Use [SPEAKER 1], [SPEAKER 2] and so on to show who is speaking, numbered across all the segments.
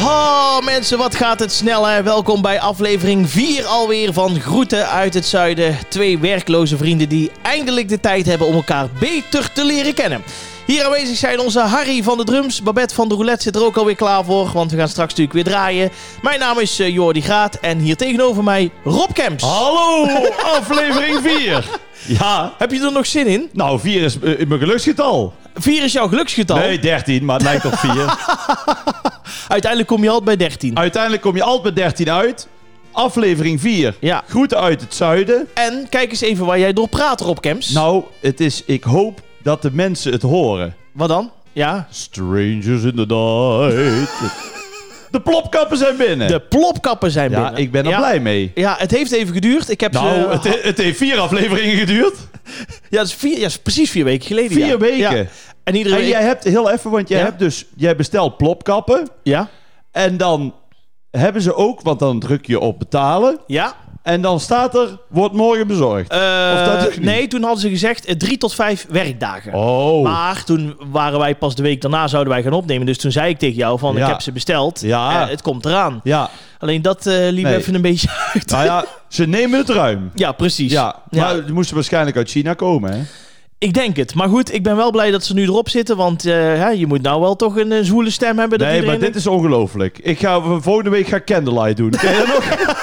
[SPEAKER 1] Oh mensen, wat gaat het snel hè? Welkom bij aflevering 4 alweer van Groeten uit het Zuiden. Twee werkloze vrienden die eindelijk de tijd hebben om elkaar beter te leren kennen. Hier aanwezig zijn onze Harry van de drums. Babette van de roulette zit er ook alweer klaar voor, want we gaan straks natuurlijk weer draaien. Mijn naam is eh, Jordi Graat en hier tegenover mij Rob Kemps.
[SPEAKER 2] Ah. Hallo, aflevering 4. Ja,
[SPEAKER 1] Heb je er nog zin in?
[SPEAKER 2] nou 4 is eh, mijn geluksgetal.
[SPEAKER 1] 4 is jouw geluksgetal.
[SPEAKER 2] Nee, 13, maar het lijkt op 4.
[SPEAKER 1] Uiteindelijk kom je altijd bij 13.
[SPEAKER 2] Uiteindelijk kom je altijd met 13 uit. Aflevering 4.
[SPEAKER 1] Ja.
[SPEAKER 2] Groeten uit het zuiden.
[SPEAKER 1] En kijk eens even waar jij door praat, Rob Kemps.
[SPEAKER 2] Nou, het is, ik hoop dat de mensen het horen.
[SPEAKER 1] Wat dan? Ja.
[SPEAKER 2] Strangers in the night. De plopkappen zijn binnen.
[SPEAKER 1] De plopkappen zijn
[SPEAKER 2] ja,
[SPEAKER 1] binnen.
[SPEAKER 2] ik ben er
[SPEAKER 1] Ja.
[SPEAKER 2] blij mee.
[SPEAKER 1] Ja, het heeft even geduurd. Ik heb ze, eh,
[SPEAKER 2] Nou, het, he- het heeft vier afleveringen geduurd.
[SPEAKER 1] ja, het is vier, ja, het is precies vier weken geleden.
[SPEAKER 2] Vier
[SPEAKER 1] ja.
[SPEAKER 2] weken.
[SPEAKER 1] Ja. En iedere
[SPEAKER 2] En
[SPEAKER 1] week-
[SPEAKER 2] jij hebt, heel even, want jij,
[SPEAKER 1] Ja.
[SPEAKER 2] hebt dus, jij bestelt plopkappen.
[SPEAKER 1] Ja.
[SPEAKER 2] En dan hebben ze ook, want dan druk je op betalen.
[SPEAKER 1] Ja.
[SPEAKER 2] En dan staat er, wordt morgen bezorgd.
[SPEAKER 1] Eh,
[SPEAKER 2] Of dat ook niet?
[SPEAKER 1] nee, toen hadden ze gezegd eh, drie tot vijf werkdagen.
[SPEAKER 2] Oh.
[SPEAKER 1] Maar toen waren wij pas de week daarna zouden wij gaan opnemen. Dus toen zei ik tegen jou van
[SPEAKER 2] Ja.
[SPEAKER 1] ik heb ze besteld.
[SPEAKER 2] Ja.
[SPEAKER 1] Eh, het komt eraan.
[SPEAKER 2] Ja.
[SPEAKER 1] Alleen dat eh, liep
[SPEAKER 2] Nee.
[SPEAKER 1] even een beetje uit.
[SPEAKER 2] Nou ja, ze nemen het ruim.
[SPEAKER 1] Ja, precies.
[SPEAKER 2] Ja, maar die moesten waarschijnlijk uit China komen, hè?
[SPEAKER 1] Ik denk het. Maar goed, ik ben wel blij dat ze nu erop zitten. Want eh, hè, je moet nou wel toch een, eh, zwoele stem hebben. Dat
[SPEAKER 2] Nee, maar
[SPEAKER 1] iedereen
[SPEAKER 2] dit is ongelooflijk. Ik ga volgende week ga candlelight doen. Ken je dat nog?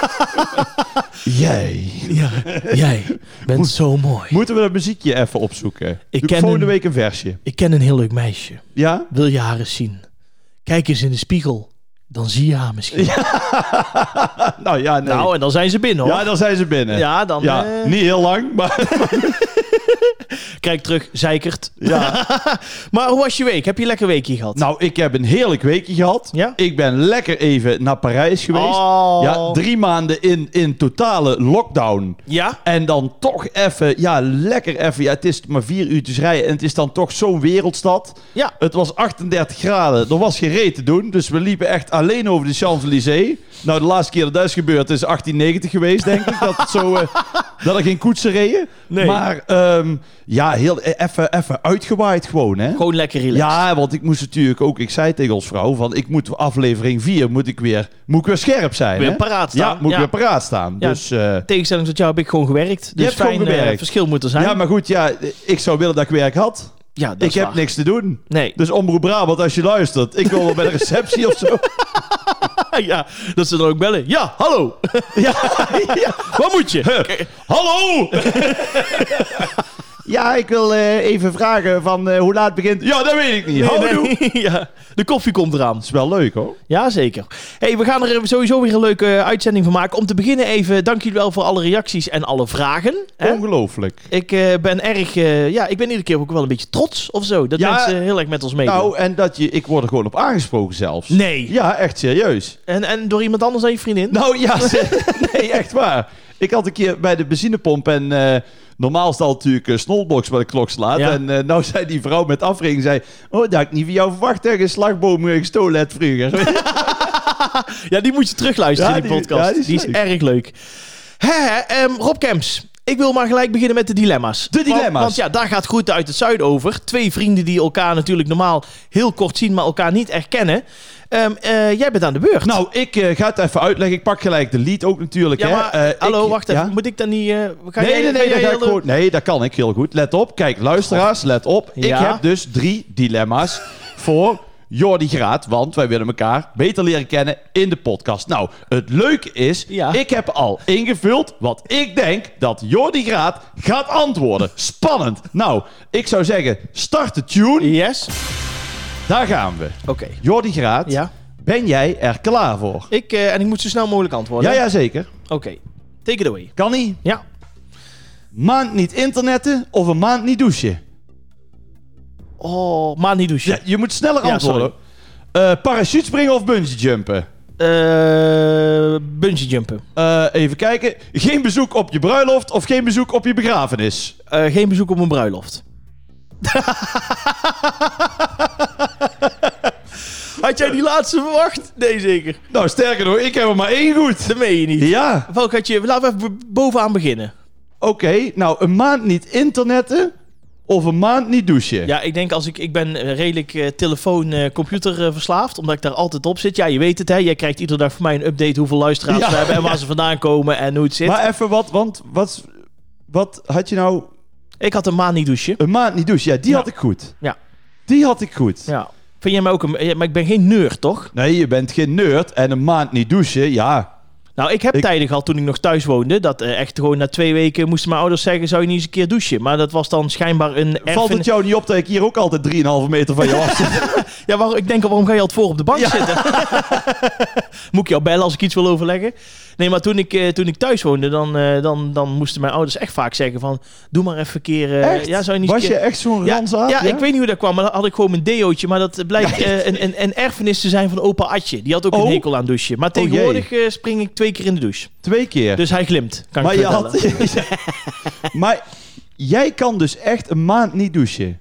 [SPEAKER 2] Jij.
[SPEAKER 1] Ja, jij bent zo mooi.
[SPEAKER 2] Moeten we dat muziekje even opzoeken? Doe
[SPEAKER 1] ken
[SPEAKER 2] volgende
[SPEAKER 1] een-
[SPEAKER 2] week een versje.
[SPEAKER 1] Ik ken een heel leuk meisje.
[SPEAKER 2] Ja?
[SPEAKER 1] Wil je haar eens zien? Kijk eens in de spiegel. Dan zie je haar misschien.
[SPEAKER 2] Nou ja, nee.
[SPEAKER 1] Nou, en dan zijn ze binnen hoor.
[SPEAKER 2] ja,
[SPEAKER 1] Ja,
[SPEAKER 2] dan zijn ze binnen.
[SPEAKER 1] dan
[SPEAKER 2] Ja,
[SPEAKER 1] eh,
[SPEAKER 2] niet heel lang, maar
[SPEAKER 1] kijk terug, zeikert.
[SPEAKER 2] ja.
[SPEAKER 1] Maar hoe was je week? Heb je een lekker weekje gehad?
[SPEAKER 2] Nou, ik heb een heerlijk weekje gehad.
[SPEAKER 1] Ja?
[SPEAKER 2] Ik ben lekker even naar Parijs geweest.
[SPEAKER 1] Oh.
[SPEAKER 2] Ja, drie maanden in, in totale lockdown.
[SPEAKER 1] Ja?
[SPEAKER 2] En dan toch even, ja, lekker even. Ja, het is maar vier uurtjes rijden en het is dan toch zo'n wereldstad.
[SPEAKER 1] Ja.
[SPEAKER 2] Het was 38 graden, er was geen reet te doen. Dus we liepen echt alleen over de Champs-Élysées. Nou, de laatste keer dat dat is gebeurd is 1890 geweest, denk ik. Dat, het zo, eh, dat er geen koetsen reden.
[SPEAKER 1] Nee.
[SPEAKER 2] Maar ehm, ja, heel eh, even, even uitgewaaid gewoon, hè?
[SPEAKER 1] Gewoon lekker relaxed.
[SPEAKER 2] Ja, want ik moest natuurlijk ook, ik zei tegen ons vrouw, van ik moet aflevering 4 moet ik weer, moet ik weer scherp zijn.
[SPEAKER 1] Weer
[SPEAKER 2] hè?
[SPEAKER 1] paraat staan.
[SPEAKER 2] Ja, moet
[SPEAKER 1] Ja.
[SPEAKER 2] ik weer paraat staan.
[SPEAKER 1] Ja.
[SPEAKER 2] Dus, eh,
[SPEAKER 1] In tegenstelling tot jou heb ik gewoon gewerkt. Dus
[SPEAKER 2] hebt
[SPEAKER 1] fijn,
[SPEAKER 2] gewoon
[SPEAKER 1] eh,
[SPEAKER 2] gewerkt.
[SPEAKER 1] verschil moet er zijn.
[SPEAKER 2] ja, maar goed, ja, ik zou willen dat ik werk had.
[SPEAKER 1] Ja, dat
[SPEAKER 2] Ik
[SPEAKER 1] is
[SPEAKER 2] heb
[SPEAKER 1] waar.
[SPEAKER 2] niks te doen.
[SPEAKER 1] Nee.
[SPEAKER 2] Dus Omroep Brabant, als je luistert, ik wil wel bij de receptie of zo.
[SPEAKER 1] ja, dat ze dan ook bellen. Ja, hallo.
[SPEAKER 2] Ja, ja.
[SPEAKER 1] Wat moet je?
[SPEAKER 2] Hallo! ja, ik wil eh, even vragen van eh, hoe laat begint... Ja, dat weet ik niet.
[SPEAKER 1] Nee,
[SPEAKER 2] Houdoe.
[SPEAKER 1] nee. ja, de koffie komt eraan.
[SPEAKER 2] is wel leuk, hoor.
[SPEAKER 1] Jazeker. Hey, we gaan er sowieso weer een leuke eh, uitzending van maken. Om te beginnen even, dank jullie wel voor alle reacties en alle vragen. Hè?
[SPEAKER 2] Ongelooflijk.
[SPEAKER 1] Ik eh, ben erg, eh, ja, ik ben iedere keer ook wel een beetje trots of zo. Dat
[SPEAKER 2] Ja.
[SPEAKER 1] mensen heel erg met ons meedoen.
[SPEAKER 2] Nou, en dat je... Ik word er gewoon op aangesproken zelfs.
[SPEAKER 1] nee.
[SPEAKER 2] Ja, echt serieus.
[SPEAKER 1] En, en door iemand anders dan je vriendin?
[SPEAKER 2] Nou ja, ze- nee, echt waar. Ik had een keer bij de benzinepomp en eh, normaal staat natuurlijk een snolbox waar de klok slaat.
[SPEAKER 1] Ja.
[SPEAKER 2] En eh, nou zei die vrouw met afrekening, zei, oh, dat had ik niet van jou verwacht dat je een slagboom eh, gestolen hebt vroeger.
[SPEAKER 1] Ja, die moet je terugluisteren,
[SPEAKER 2] Ja,
[SPEAKER 1] die,
[SPEAKER 2] die-
[SPEAKER 1] podcast.
[SPEAKER 2] ja,
[SPEAKER 1] die,
[SPEAKER 2] die
[SPEAKER 1] is
[SPEAKER 2] is leuk.
[SPEAKER 1] erg leuk. Hè, hè, ehm, Rob Kemps, ik wil maar gelijk beginnen met de dilemma's.
[SPEAKER 2] De dilemma's.
[SPEAKER 1] Want, want ja, daar gaat Groeten uit het Zuiden over. Twee vrienden die elkaar natuurlijk normaal heel kort zien, maar elkaar niet erkennen. Ehm, eh, jij bent aan de beurt.
[SPEAKER 2] nou, ik eh, ga het even uitleggen. Ik pak gelijk de lied ook natuurlijk.
[SPEAKER 1] Ja,
[SPEAKER 2] hè.
[SPEAKER 1] maar,
[SPEAKER 2] Eh, ik-
[SPEAKER 1] hallo, wacht even.
[SPEAKER 2] ja?
[SPEAKER 1] Moet ik dan niet... eh, ga
[SPEAKER 2] nee,
[SPEAKER 1] jij-
[SPEAKER 2] nee,
[SPEAKER 1] ga jij
[SPEAKER 2] nee, dat ga ik
[SPEAKER 1] heel de-
[SPEAKER 2] gewoon- nee, dat kan ik heel goed. Let op. Kijk, luisteraars, let op.
[SPEAKER 1] Ja.
[SPEAKER 2] Ik heb dus drie dilemma's voor Jordi Graat. Want wij willen elkaar beter leren kennen in de podcast. Nou, het leuke is,
[SPEAKER 1] Ja.
[SPEAKER 2] ik heb al ingevuld wat ik denk dat Jordi Graat gaat antwoorden. Spannend. Nou, ik zou zeggen, start de tune.
[SPEAKER 1] Yes?
[SPEAKER 2] Daar gaan we.
[SPEAKER 1] Oké.
[SPEAKER 2] Jordi Graat,
[SPEAKER 1] Ja.
[SPEAKER 2] ben jij er klaar voor?
[SPEAKER 1] Ik, eh, en ik moet zo snel mogelijk antwoorden.
[SPEAKER 2] Ja, ja, zeker.
[SPEAKER 1] Oké. Take it away.
[SPEAKER 2] Kan niet.
[SPEAKER 1] Ja.
[SPEAKER 2] Maand niet internetten of een maand niet douchen?
[SPEAKER 1] Oh, maar niet douchen.
[SPEAKER 2] Ja, je moet sneller
[SPEAKER 1] Ja,
[SPEAKER 2] antwoorden. Eh parachute springen of bungee jumpen?
[SPEAKER 1] Eh, bungee jumpen.
[SPEAKER 2] Eh, even kijken. Geen bezoek op je bruiloft of geen bezoek op je begrafenis?
[SPEAKER 1] Eh, geen bezoek op mijn bruiloft. Had jij die laatste verwacht? Nee, zeker.
[SPEAKER 2] Nou, sterker nog, ik heb er maar één goed.
[SPEAKER 1] Dat meen je niet.
[SPEAKER 2] Ja,
[SPEAKER 1] Welk had je... Laten we even bovenaan beginnen.
[SPEAKER 2] oké. Nou, een maand niet internetten of een maand niet douchen.
[SPEAKER 1] Ja, ik denk als ik... Ik ben eh, redelijk telefoon-computer eh, verslaafd, omdat ik daar altijd op zit. Ja, je weet het, hè. Jij krijgt iedere dag van mij een update hoeveel luisteraars
[SPEAKER 2] Ja.
[SPEAKER 1] we hebben en waar ze vandaan komen en hoe het zit.
[SPEAKER 2] Maar even wat, want wat, wat had je nou
[SPEAKER 1] ik had een maand niet douchen.
[SPEAKER 2] een maand niet douchen? Ja, die
[SPEAKER 1] Ja.
[SPEAKER 2] had ik goed.
[SPEAKER 1] Ja.
[SPEAKER 2] Die had ik goed.
[SPEAKER 1] Ja. Vind jij mij ook een... ja, Maar ik ben geen neur, toch?
[SPEAKER 2] Nee, je bent geen nerd en een maand niet douchen, ja.
[SPEAKER 1] Nou, ik heb
[SPEAKER 2] Ik-
[SPEAKER 1] tijden gehad toen ik nog thuis woonde. Dat eh, echt gewoon na twee weken moesten mijn ouders zeggen: zou je niet eens een keer douchen? Maar dat was dan schijnbaar een
[SPEAKER 2] Valt het
[SPEAKER 1] erfenis.
[SPEAKER 2] jou niet op dat ik hier ook altijd 3,5 meter van jou af zit?
[SPEAKER 1] Ja, waarom, ik denk al, waarom ga je al voor op de bank zitten? Moet ik jou bellen als ik iets wil overleggen? Nee, maar toen ik, eh, toen ik thuis woonde, dan, eh, dan, dan moesten mijn ouders echt vaak zeggen: van, doe maar even een keer. eh,
[SPEAKER 2] Echt?
[SPEAKER 1] Ja, zou je niet
[SPEAKER 2] Was
[SPEAKER 1] eens een
[SPEAKER 2] je
[SPEAKER 1] keer...
[SPEAKER 2] echt zo'n
[SPEAKER 1] Ja,
[SPEAKER 2] ranzaad?
[SPEAKER 1] ja, ik weet niet hoe dat kwam, maar dan had ik gewoon mijn deootje. Maar dat blijkt eh, een, een, een erfenis te zijn van opa Atje. Die had ook
[SPEAKER 2] Oh.
[SPEAKER 1] een hekel aan douchen. Maar
[SPEAKER 2] jee.
[SPEAKER 1] tegenwoordig eh, spring ik twee keer in de douche.
[SPEAKER 2] Twee keer.
[SPEAKER 1] Dus hij glimt, kan
[SPEAKER 2] maar
[SPEAKER 1] ik
[SPEAKER 2] je
[SPEAKER 1] vertellen.
[SPEAKER 2] had... maar jij kan dus echt een maand niet douchen.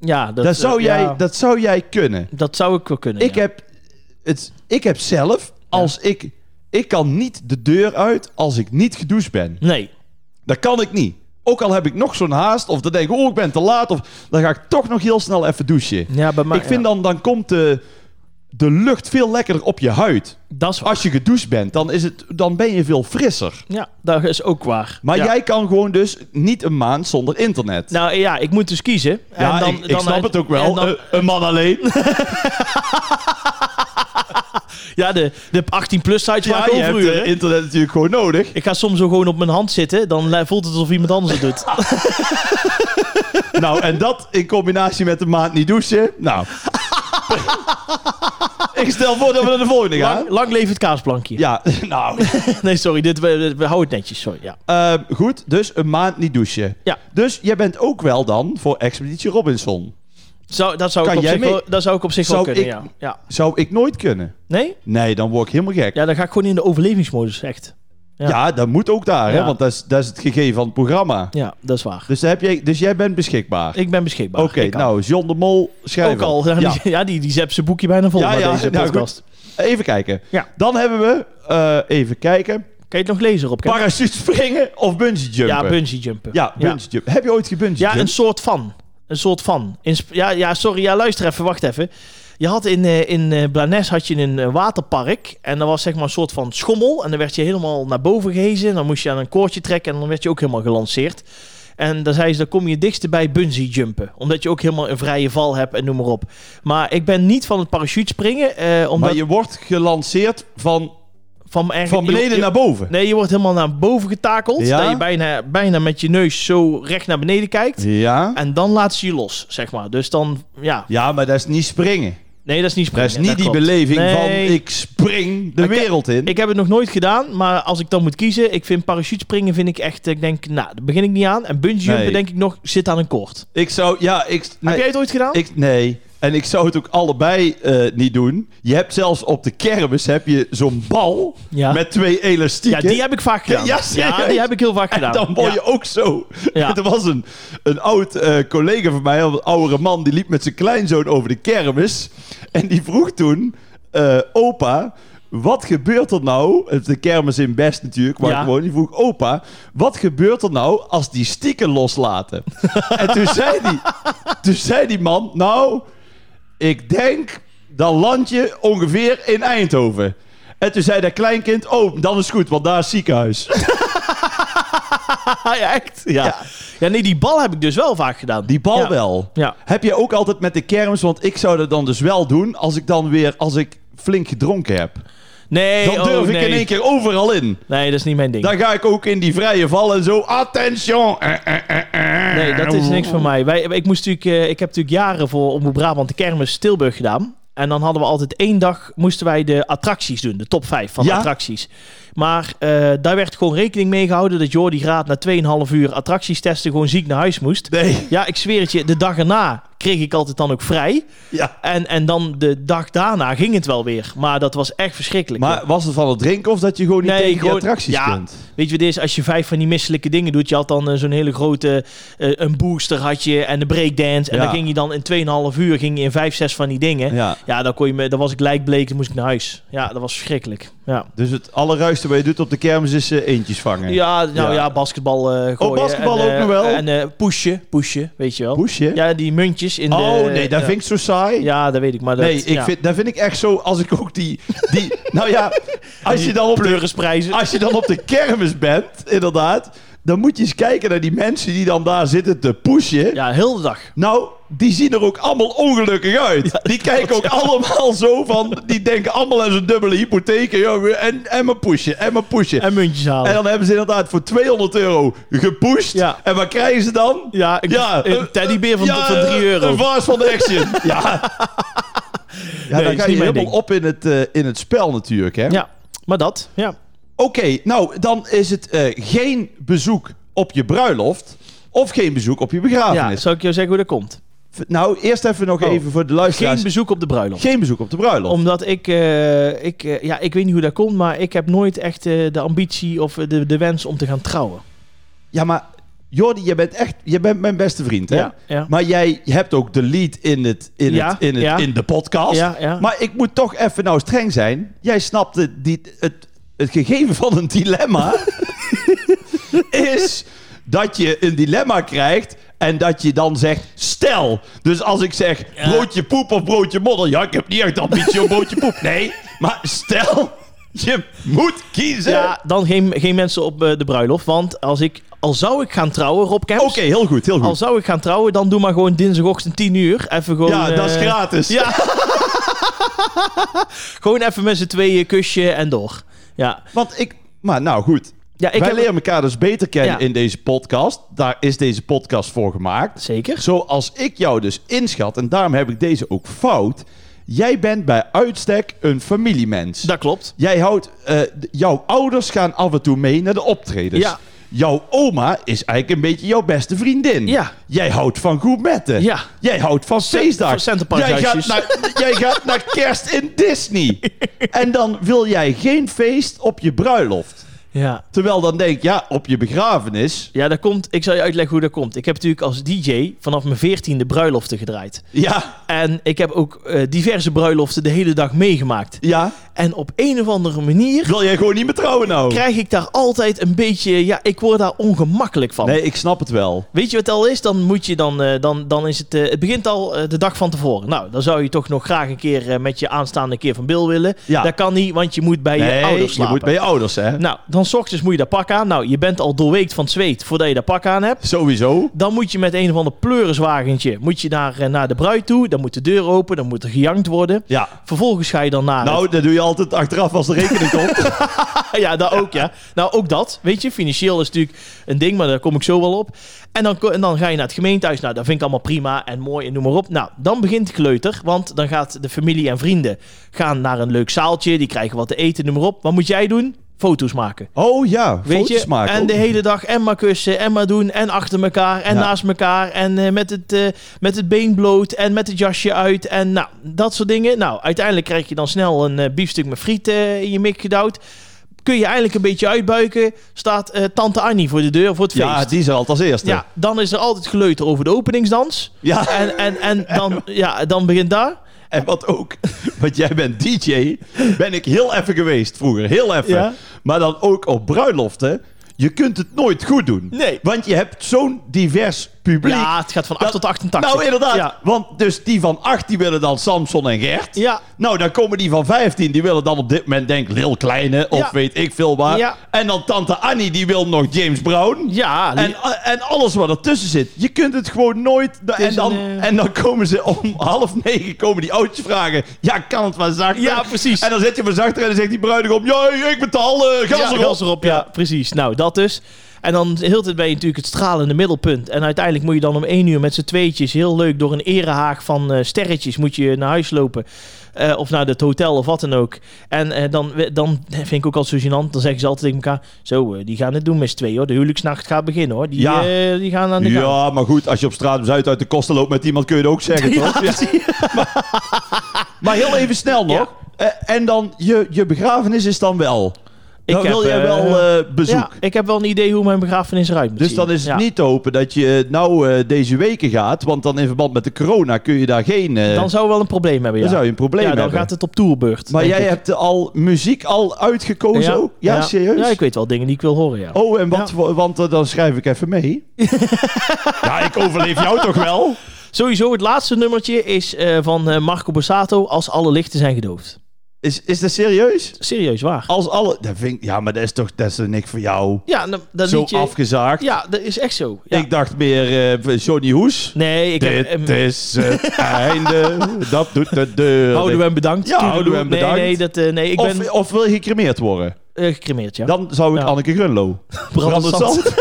[SPEAKER 1] Ja, dat,
[SPEAKER 2] Dat, zou,
[SPEAKER 1] eh,
[SPEAKER 2] jij,
[SPEAKER 1] ja, dat...
[SPEAKER 2] dat zou jij kunnen.
[SPEAKER 1] zou ik wel kunnen.
[SPEAKER 2] Ik,
[SPEAKER 1] ja.
[SPEAKER 2] heb, het, ik heb zelf, als ik... Ik kan niet de deur uit als ik niet gedoucht ben.
[SPEAKER 1] Nee.
[SPEAKER 2] Dat kan ik niet. Ook al heb ik nog zo'n haast, of dan denk ik, oh, ik ben te laat, of dan ga ik toch nog heel snel even douchen.
[SPEAKER 1] Ja, bij mij,
[SPEAKER 2] ik vind dan, dan komt de, de lucht veel lekkerder op je huid.
[SPEAKER 1] dat... Dat is waar.
[SPEAKER 2] Als je gedoucht bent, dan, is het, dan ben je veel frisser.
[SPEAKER 1] Ja, dat is ook waar.
[SPEAKER 2] Maar
[SPEAKER 1] Ja.
[SPEAKER 2] jij kan gewoon dus niet een maand zonder internet.
[SPEAKER 1] Nou ja, ik moet dus kiezen.
[SPEAKER 2] ja, ik, ik snap het ook wel.
[SPEAKER 1] en dan-
[SPEAKER 2] Eh, een man alleen.
[SPEAKER 1] ja, de, de 18-plus sites
[SPEAKER 2] ja,
[SPEAKER 1] waar ik
[SPEAKER 2] je
[SPEAKER 1] over
[SPEAKER 2] hebt eh, internet natuurlijk gewoon nodig.
[SPEAKER 1] Ik ga soms zo gewoon op mijn hand zitten. Dan eh, voelt het alsof iemand anders het doet.
[SPEAKER 2] nou, en dat in combinatie met een maand niet douchen. Nou. ik stel voor dat we naar de volgende gaan.
[SPEAKER 1] Lang, lang leef het kaasplankje.
[SPEAKER 2] Ja, nou.
[SPEAKER 1] Nee, sorry. Dit, we, we- we houden het netjes. Sorry, ja.
[SPEAKER 2] Ehm, goed, dus een maand niet douchen.
[SPEAKER 1] Ja.
[SPEAKER 2] Dus jij bent ook wel dan voor Expeditie Robinson.
[SPEAKER 1] Zou, dat, zou
[SPEAKER 2] Kan
[SPEAKER 1] ik op
[SPEAKER 2] jij
[SPEAKER 1] zich
[SPEAKER 2] mee?
[SPEAKER 1] wel, dat zou ik op zich wel
[SPEAKER 2] Zou
[SPEAKER 1] kunnen,
[SPEAKER 2] ik-
[SPEAKER 1] ja. ja.
[SPEAKER 2] Zou ik nooit kunnen.
[SPEAKER 1] Nee?
[SPEAKER 2] Nee, dan word ik helemaal gek. Ja,
[SPEAKER 1] Ja, dan ga ik gewoon in de overlevingsmodus, echt. ja.
[SPEAKER 2] dat moet ook daar, hè?
[SPEAKER 1] Ja.
[SPEAKER 2] want dat is, dat is het gegeven van het programma.
[SPEAKER 1] Ja, dat is waar.
[SPEAKER 2] Dus, daar heb jij, dus jij bent beschikbaar.
[SPEAKER 1] Ik ben beschikbaar.
[SPEAKER 2] Oké,
[SPEAKER 1] Ik kan.
[SPEAKER 2] nou, John de Mol, schrijf
[SPEAKER 1] Ook al. Ja,
[SPEAKER 2] Ja.
[SPEAKER 1] die, ja, die, die zept zijn boekje bijna vol
[SPEAKER 2] Ja,
[SPEAKER 1] na
[SPEAKER 2] ja,
[SPEAKER 1] deze
[SPEAKER 2] nou,
[SPEAKER 1] podcast.
[SPEAKER 2] Even kijken.
[SPEAKER 1] Ja.
[SPEAKER 2] Dan hebben we, eh, even kijken,
[SPEAKER 1] Kan je het nog lezen, Rob?
[SPEAKER 2] parachute springen of bungee jumpen.
[SPEAKER 1] ja, bungee jumpen.
[SPEAKER 2] Ja,
[SPEAKER 1] ja.
[SPEAKER 2] bungee jump. Heb je ooit gebungee
[SPEAKER 1] Ja, een
[SPEAKER 2] jump?
[SPEAKER 1] soort van. Een soort van. In Sp- ja, ja, sorry. Ja, luister even. Wacht even. Je had in, eh, in eh, Blanes had je een eh, waterpark. En dat was zeg maar een soort van schommel. En dan werd je helemaal naar boven gehezen. En dan moest je aan een koordje trekken. En dan werd je ook helemaal gelanceerd. En dan zei ze, dan kom je dichtst bij bungee jumpen. Omdat je ook helemaal een vrije val hebt en noem maar op. Maar ik ben niet van het parachute springen. eh, omdat
[SPEAKER 2] Maar je wordt gelanceerd van,
[SPEAKER 1] van, ergens-
[SPEAKER 2] van beneden
[SPEAKER 1] je-
[SPEAKER 2] naar boven.
[SPEAKER 1] Nee, je wordt helemaal naar boven getakeld.
[SPEAKER 2] Ja?
[SPEAKER 1] Dat je bijna, bijna met je neus zo recht naar beneden kijkt.
[SPEAKER 2] Ja.
[SPEAKER 1] En dan laat ze je los, zeg maar. Dus dan, ja.
[SPEAKER 2] ja, maar dat is niet springen.
[SPEAKER 1] Nee, dat is niet
[SPEAKER 2] Dat
[SPEAKER 1] springen.
[SPEAKER 2] is niet die
[SPEAKER 1] klopt.
[SPEAKER 2] beleving
[SPEAKER 1] Nee.
[SPEAKER 2] van ik spring de
[SPEAKER 1] Ik-
[SPEAKER 2] wereld in.
[SPEAKER 1] Ik heb het nog nooit gedaan, maar als ik dan moet kiezen... Ik vind parachutespringen, vind ik echt... eh, Ik denk, nou, daar begin ik niet aan. En bungee jumpen,
[SPEAKER 2] Nee.
[SPEAKER 1] denk ik nog, zit aan een koord.
[SPEAKER 2] Ik zou, ja, ik,
[SPEAKER 1] Heb
[SPEAKER 2] nee,
[SPEAKER 1] jij het ooit gedaan?
[SPEAKER 2] ik, nee. En ik zou het ook allebei eh, niet doen. Je hebt zelfs op de kermis heb je zo'n bal
[SPEAKER 1] Ja.
[SPEAKER 2] met twee
[SPEAKER 1] ja,
[SPEAKER 2] elastieken.
[SPEAKER 1] die heb ik vaak gedaan.
[SPEAKER 2] Ja, serieus?
[SPEAKER 1] die heb ik heel vaak gedaan.
[SPEAKER 2] dan word je
[SPEAKER 1] Ja.
[SPEAKER 2] ook zo.
[SPEAKER 1] Ja.
[SPEAKER 2] Er was een, een oud eh, collega van mij, een oudere man, die liep met zijn kleinzoon over de kermis. En die vroeg toen, eh, opa, wat gebeurt er nou? Het is De kermis in Best natuurlijk, waar
[SPEAKER 1] Ja.
[SPEAKER 2] ik woon. Die vroeg, opa, wat gebeurt er nou als die stieken loslaten? en toen zei, die, toen zei die man, nou, ik denk, dan land je ongeveer in Eindhoven. En toen zei dat kleinkind, oh, dan is het goed, want daar is ziekenhuis.
[SPEAKER 1] Ja, echt? Ja. ja. nee, die bal heb ik dus wel vaak gedaan.
[SPEAKER 2] Die bal
[SPEAKER 1] Ja.
[SPEAKER 2] wel.
[SPEAKER 1] Ja.
[SPEAKER 2] Heb je ook altijd met de kermis, want ik zou dat dan dus wel doen als ik dan weer, als ik flink gedronken heb.
[SPEAKER 1] Nee,
[SPEAKER 2] Dan durf
[SPEAKER 1] oh,
[SPEAKER 2] ik
[SPEAKER 1] nee.
[SPEAKER 2] in één keer overal in.
[SPEAKER 1] Nee, dat is niet mijn ding.
[SPEAKER 2] Dan ga ik ook in die vrije val en zo, attention. Eh, eh, eh, eh.
[SPEAKER 1] Nee, dat is niks voor mij. Wij, ik, moest natuurlijk, eh, ik heb natuurlijk jaren voor Omroep Brabant de kermis Tilburg gedaan. En dan hadden we altijd één dag, moesten wij de attracties doen. De top 5 van
[SPEAKER 2] Ja.
[SPEAKER 1] attracties. Maar eh, daar werd gewoon rekening mee gehouden dat Jordi Graat na 2,5 uur attracties testen gewoon ziek naar huis moest.
[SPEAKER 2] Nee,
[SPEAKER 1] Ja, ik zweer het je, de dag erna kreeg ik altijd dan ook vrij.
[SPEAKER 2] ja.
[SPEAKER 1] En, en dan de dag daarna ging het wel weer. Maar dat was echt verschrikkelijk. joh.
[SPEAKER 2] Maar was het van het drinken of dat je gewoon niet
[SPEAKER 1] Nee,
[SPEAKER 2] tegen die
[SPEAKER 1] gewoon-
[SPEAKER 2] attracties
[SPEAKER 1] ja.
[SPEAKER 2] kunt?
[SPEAKER 1] Weet je wat het is? Als je vijf van die misselijke dingen doet. Je had dan eh, zo'n hele grote... eh, een booster had je en de breakdance. En
[SPEAKER 2] Ja.
[SPEAKER 1] dan ging je dan in 2,5 uur ging je in vijf, zes van die dingen. Ja,
[SPEAKER 2] Ja.
[SPEAKER 1] dan, kon je me, dan was ik lijkbleek. Dan moest ik naar huis. Ja, dat was verschrikkelijk. Ja.
[SPEAKER 2] Dus het allerruiste wat je doet op de kermis is eh, eentjes vangen.
[SPEAKER 1] Ja, nou ja,
[SPEAKER 2] Ja. Oh,
[SPEAKER 1] basketbal eh gooien.
[SPEAKER 2] basketbal
[SPEAKER 1] en, eh,
[SPEAKER 2] ook nog wel.
[SPEAKER 1] En eh pushen, pushen, weet je wel.
[SPEAKER 2] Poesje?
[SPEAKER 1] Ja, die muntjes in de...
[SPEAKER 2] oh nee, dat
[SPEAKER 1] ja.
[SPEAKER 2] vind ik zo saai.
[SPEAKER 1] Ja, dat weet ik, maar dat...
[SPEAKER 2] nee, ik
[SPEAKER 1] ja.
[SPEAKER 2] vind, dat vind ik echt zo als ik ook die... die nou ja, als je, dan op de,
[SPEAKER 1] Pleurisprijzen.
[SPEAKER 2] als je dan op de kermis bent, inderdaad... Dan moet je eens kijken naar die mensen die dan daar zitten te pushen.
[SPEAKER 1] Ja, heel de dag.
[SPEAKER 2] Nou, die zien er ook allemaal ongelukkig uit. die kijken ook allemaal zo van... Die denken allemaal aan zo'n dubbele hypotheek. jongen, en, en maar pushen, en maar pushen. En,
[SPEAKER 1] En muntjes halen.
[SPEAKER 2] dan hebben ze inderdaad voor 200 euro gepusht.
[SPEAKER 1] Ja.
[SPEAKER 2] En wat krijgen ze dan?
[SPEAKER 1] ja, een,
[SPEAKER 2] Ja,
[SPEAKER 1] een
[SPEAKER 2] eh,
[SPEAKER 1] teddybeer van,
[SPEAKER 2] ja,
[SPEAKER 1] van 3
[SPEAKER 2] eh,
[SPEAKER 1] euro.
[SPEAKER 2] Een vars van de action. ja. Ja,
[SPEAKER 1] Nee, is
[SPEAKER 2] dan
[SPEAKER 1] niet
[SPEAKER 2] ga je
[SPEAKER 1] mijn
[SPEAKER 2] helemaal
[SPEAKER 1] ding.
[SPEAKER 2] op in het, eh, in het spel natuurlijk. Hè?
[SPEAKER 1] Ja, maar dat, ja.
[SPEAKER 2] Oké, nou dan is het eh, geen bezoek op je bruiloft of geen bezoek op je
[SPEAKER 1] ja,
[SPEAKER 2] begrafenis.
[SPEAKER 1] zal ik jou zeggen hoe dat komt?
[SPEAKER 2] V- Nou, eerst even nog
[SPEAKER 1] Oh.
[SPEAKER 2] even voor de
[SPEAKER 1] Geen
[SPEAKER 2] luisteraars.
[SPEAKER 1] bezoek op de bruiloft.
[SPEAKER 2] Geen bezoek op de bruiloft.
[SPEAKER 1] Omdat ik, eh, ik eh, ja, ik weet niet hoe dat komt, maar ik heb nooit echt eh, de ambitie of eh, de, de wens om te gaan trouwen.
[SPEAKER 2] Ja, maar Jordi, je bent echt, je bent mijn beste vriend, hè?
[SPEAKER 1] Ja, ja.
[SPEAKER 2] Maar jij hebt ook de lead in, het, in,
[SPEAKER 1] Ja,
[SPEAKER 2] het, in, het,
[SPEAKER 1] ja.
[SPEAKER 2] in de podcast.
[SPEAKER 1] Ja, ja.
[SPEAKER 2] Maar ik moet toch even nou streng zijn. Jij snapte die, het, het gegeven van een dilemma is dat je een dilemma krijgt en dat je dan zegt, stel. Dus als ik zeg broodje poep of broodje modder. Ja, ik heb niet echt ambitie op broodje poep. Nee, maar stel, je moet kiezen.
[SPEAKER 1] Ja, dan geen, geen mensen op eh, de bruiloft. Want als ik, al zou ik gaan trouwen, Rob Kemps.
[SPEAKER 2] Oké, heel goed, heel goed.
[SPEAKER 1] Al zou ik gaan trouwen, dan doe maar gewoon dinsdagochtend 10 uur. Even gewoon,
[SPEAKER 2] ja, dat is
[SPEAKER 1] eh,
[SPEAKER 2] gratis.
[SPEAKER 1] Ja. gewoon even met z'n tweeën kusje en door. Ja,
[SPEAKER 2] Want ik... Maar nou goed,
[SPEAKER 1] ja ik
[SPEAKER 2] Wij
[SPEAKER 1] heb...
[SPEAKER 2] leren elkaar dus beter kennen
[SPEAKER 1] Ja.
[SPEAKER 2] in deze podcast. Daar is deze podcast voor gemaakt.
[SPEAKER 1] Zeker.
[SPEAKER 2] Zoals ik jou dus inschat, en daarom heb ik deze ook fout. Jij bent bij uitstek een familiemens.
[SPEAKER 1] Dat klopt.
[SPEAKER 2] Jij houdt, eh, d- jouw ouders gaan af en toe mee naar de optredens.
[SPEAKER 1] Ja.
[SPEAKER 2] Jouw oma is eigenlijk een beetje jouw beste vriendin.
[SPEAKER 1] Ja.
[SPEAKER 2] Jij houdt van gourmetten.
[SPEAKER 1] Ja.
[SPEAKER 2] Jij houdt van feestdagen.
[SPEAKER 1] van centerparkhuisjes.
[SPEAKER 2] Jij gaat, naar, jij gaat naar kerst in Disney. En dan wil jij geen feest op je bruiloft.
[SPEAKER 1] Ja.
[SPEAKER 2] Terwijl dan denk ik, ja, op je begrafenis.
[SPEAKER 1] Ja, dat komt. Ik zal je uitleggen hoe dat komt. Ik heb natuurlijk als DJ vanaf mijn veertiende bruiloften gedraaid.
[SPEAKER 2] Ja,
[SPEAKER 1] En ik heb ook eh, diverse bruiloften de hele dag meegemaakt.
[SPEAKER 2] ja.
[SPEAKER 1] En op een of andere manier
[SPEAKER 2] Wil jij gewoon niet meer trouwen nou?
[SPEAKER 1] krijg ik daar altijd een beetje... Ja, ik word daar ongemakkelijk van.
[SPEAKER 2] Nee, ik snap het wel.
[SPEAKER 1] Weet je wat het al is? Dan moet je dan... eh, dan, dan is het, eh, het begint al eh, de dag van tevoren. Nou, dan zou je toch nog graag een keer eh, met je aanstaande keer van Bill willen.
[SPEAKER 2] Ja.
[SPEAKER 1] Dat kan niet, want je moet bij
[SPEAKER 2] Nee,
[SPEAKER 1] je ouders
[SPEAKER 2] je
[SPEAKER 1] slapen.
[SPEAKER 2] moet bij je ouders, hè?
[SPEAKER 1] Nou, dan s ochtends moet je dat pak aan. Nou, je bent al doorweekt van het zweet voordat je dat pak aan hebt.
[SPEAKER 2] Sowieso.
[SPEAKER 1] Dan moet je met een of ander pleuriswagentje moet je naar, eh, naar de bruid toe. Dan moet de deur open. Dan moet er gejankt worden.
[SPEAKER 2] Ja.
[SPEAKER 1] Vervolgens ga je dan naar...
[SPEAKER 2] Nou, dat doe je altijd achteraf als de rekening komt.
[SPEAKER 1] het- ja, dat ook, ja. Nou, ook dat. Weet je, financieel is natuurlijk een ding, maar daar kom ik zo wel op. En dan, ko- en dan ga je naar het gemeentehuis. Nou, dat vind ik allemaal prima en mooi en noem maar op. Nou, dan begint het kleuter, want dan gaat de familie en vrienden gaan naar een leuk zaaltje. Die krijgen wat te eten, noem maar op. Wat moet jij doen? Foto's maken.
[SPEAKER 2] Oh ja,
[SPEAKER 1] Weet
[SPEAKER 2] foto's
[SPEAKER 1] je,
[SPEAKER 2] maken.
[SPEAKER 1] en
[SPEAKER 2] ook.
[SPEAKER 1] de hele dag en maar kussen en maar doen en achter elkaar en
[SPEAKER 2] Ja.
[SPEAKER 1] naast elkaar en eh, met, het, eh, met het been bloot en met het jasje uit en nou, dat soort dingen. Nou, uiteindelijk krijg je dan snel een eh, biefstuk met friet eh, in je mik gedouwd. Kun je eigenlijk een beetje uitbuiken, staat eh, tante Annie voor de deur voor het feest.
[SPEAKER 2] Ja, die is er altijd als eerste.
[SPEAKER 1] Ja, dan is er altijd geleuter over de openingsdans.
[SPEAKER 2] Ja,
[SPEAKER 1] En, en, en dan, ja, dan begint daar.
[SPEAKER 2] en wat ook, want jij bent DJ, ben ik heel even geweest vroeger, heel even.
[SPEAKER 1] Ja.
[SPEAKER 2] Maar dan ook op bruiloften, je kunt het nooit goed doen.
[SPEAKER 1] Nee.
[SPEAKER 2] Want je hebt zo'n divers publiek.
[SPEAKER 1] Ja, het gaat van 8
[SPEAKER 2] Dat-
[SPEAKER 1] tot 88.
[SPEAKER 2] Nou, inderdaad.
[SPEAKER 1] Ja.
[SPEAKER 2] Want dus die van 8, die willen dan Samson en Gert.
[SPEAKER 1] Ja.
[SPEAKER 2] Nou, dan komen die van 15, die willen dan op dit moment denk Lil Kleine of
[SPEAKER 1] Ja.
[SPEAKER 2] weet ik veel waar.
[SPEAKER 1] Ja.
[SPEAKER 2] En dan tante Annie, die wil nog James Brown.
[SPEAKER 1] Ja,
[SPEAKER 2] En, eh, en alles wat ertussen zit. Je kunt het gewoon nooit... da-
[SPEAKER 1] is
[SPEAKER 2] en, dan,
[SPEAKER 1] een, eh,
[SPEAKER 2] en dan komen ze om half negen komen die oudjes vragen. Ja, kan het maar zachter?
[SPEAKER 1] Ja, precies.
[SPEAKER 2] En dan zet je maar zachter en dan zegt die bruidegom... Ja, ik betaal, eh gas
[SPEAKER 1] ja,
[SPEAKER 2] erop.
[SPEAKER 1] gas erop, ja. precies. Nou, dat dus. En dan heel de tijd ben je natuurlijk het stralende middelpunt. En uiteindelijk moet je dan om één uur met z'n tweetjes heel leuk door een erehaag van eh, sterretjes moet je naar huis lopen. Eh, of naar het hotel of wat dan ook. En eh, dan, we- dan vind ik ook altijd zo gênant. Dan zeggen ze altijd tegen elkaar: Zo, eh, die gaan het doen met z'n tweeën hoor. De huwelijksnacht gaat beginnen hoor. Die,
[SPEAKER 2] Ja.
[SPEAKER 1] eh, die gaan aan de gang.
[SPEAKER 2] Ja, maar goed, als je op straat op Zuid uit de kosten loopt met iemand, kun je het ook zeggen, toch? Ja. Maar, maar heel even snel nog. Eh, en dan, je, je begrafenis is dan wel
[SPEAKER 1] Ik
[SPEAKER 2] Dan wil
[SPEAKER 1] heb,
[SPEAKER 2] jij
[SPEAKER 1] eh,
[SPEAKER 2] wel eh, bezoek.
[SPEAKER 1] Ja, ik heb wel een idee hoe mijn begrafenis eruit moet
[SPEAKER 2] Dus
[SPEAKER 1] zien.
[SPEAKER 2] dan is het
[SPEAKER 1] Ja.
[SPEAKER 2] niet te hopen dat je eh, nou eh, deze weken gaat. Want dan in verband met de corona kun je daar geen... eh,
[SPEAKER 1] Dan zou we wel een probleem hebben, ja.
[SPEAKER 2] dan zou je een probleem
[SPEAKER 1] ja, dan
[SPEAKER 2] hebben.
[SPEAKER 1] gaat het op tourbeurt.
[SPEAKER 2] maar
[SPEAKER 1] denk
[SPEAKER 2] jij
[SPEAKER 1] ik.
[SPEAKER 2] hebt al muziek al uitgekozen
[SPEAKER 1] Ja,
[SPEAKER 2] ook? Ja, serieus?
[SPEAKER 1] Ja, ik weet wel dingen die ik wil horen, ja.
[SPEAKER 2] Oh, en wat? voor- Want eh, dan schrijf ik even mee. ja, ik overleef jou toch wel?
[SPEAKER 1] Sowieso, het laatste nummertje is eh, van eh, Marco Borsato, Als alle lichten zijn gedoofd.
[SPEAKER 2] Is, is dat serieus?
[SPEAKER 1] Serieus waar.
[SPEAKER 2] Als alle... Dat vind ik- ja, maar dat is toch dat is toch niks voor jou?
[SPEAKER 1] Ja, nou, dat
[SPEAKER 2] Zo
[SPEAKER 1] liedje...
[SPEAKER 2] afgezaagd.
[SPEAKER 1] Ja, dat is echt zo. Ja.
[SPEAKER 2] Ik dacht meer eh Johnny Hoes.
[SPEAKER 1] nee, ik heb... eh,
[SPEAKER 2] Dit
[SPEAKER 1] em,
[SPEAKER 2] is het einde. Dat doet de deur.
[SPEAKER 1] houden we hem bedankt.
[SPEAKER 2] Ja, houden we hem
[SPEAKER 1] Nee,
[SPEAKER 2] bedankt.
[SPEAKER 1] Nee, dat, eh, nee ik ben
[SPEAKER 2] of, of wil je gecremeerd worden?
[SPEAKER 1] eh, gecremeerd, ja.
[SPEAKER 2] Dan zou ik
[SPEAKER 1] Ja.
[SPEAKER 2] Anneke Grunlo.
[SPEAKER 1] Brandend
[SPEAKER 2] Brandend
[SPEAKER 1] zand.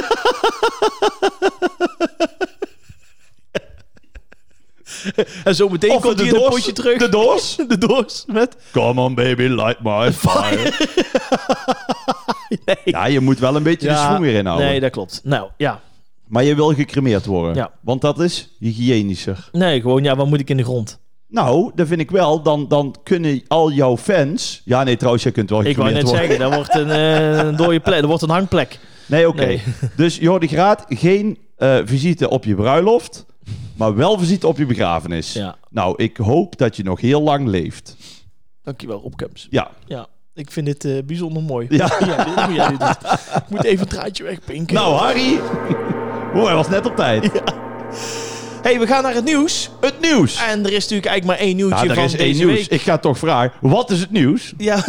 [SPEAKER 1] En zo meteen
[SPEAKER 2] Of
[SPEAKER 1] komt hij in een potje terug.
[SPEAKER 2] De doos.
[SPEAKER 1] de doors met...
[SPEAKER 2] Come on baby, light my fire. Ja, je moet wel een beetje de schoen weer inhouden.
[SPEAKER 1] Nee, dat klopt. Nou, ja.
[SPEAKER 2] Maar je wil gecremeerd worden.
[SPEAKER 1] Ja.
[SPEAKER 2] Want dat is hygiënischer.
[SPEAKER 1] Nee, gewoon, ja, wat moet ik in de grond?
[SPEAKER 2] Nou, dat vind ik wel. Dan, dan kunnen al jouw fans... Ja, nee, trouwens, jij kunt wel
[SPEAKER 1] Ik wou
[SPEAKER 2] gecremeerd
[SPEAKER 1] net
[SPEAKER 2] worden.
[SPEAKER 1] zeggen, dat wordt een, eh, een dode plek. Dat wordt een hangplek.
[SPEAKER 2] Nee, oké.
[SPEAKER 1] Nee.
[SPEAKER 2] Dus Jordi Graat, geen eh, visite op je bruiloft, maar wel visite op je begrafenis.
[SPEAKER 1] Ja.
[SPEAKER 2] Nou, ik hoop dat je nog heel lang leeft.
[SPEAKER 1] Dankjewel, Opkums.
[SPEAKER 2] Ja.
[SPEAKER 1] Ja, ik vind dit eh, bijzonder mooi.
[SPEAKER 2] Ja.
[SPEAKER 1] Hoe jij dit- hoe jij dit doet. Ik moet even een traantje wegpinken.
[SPEAKER 2] Nou, Harry. Oh, hij was net op tijd.
[SPEAKER 1] hey, we gaan naar het nieuws.
[SPEAKER 2] Het nieuws.
[SPEAKER 1] En er is natuurlijk eigenlijk maar Nou, één nieuwtje
[SPEAKER 2] Ja, er
[SPEAKER 1] van
[SPEAKER 2] is één
[SPEAKER 1] deze
[SPEAKER 2] nieuws.
[SPEAKER 1] week.
[SPEAKER 2] Ik ga toch vragen, wat is het nieuws?
[SPEAKER 1] Ja.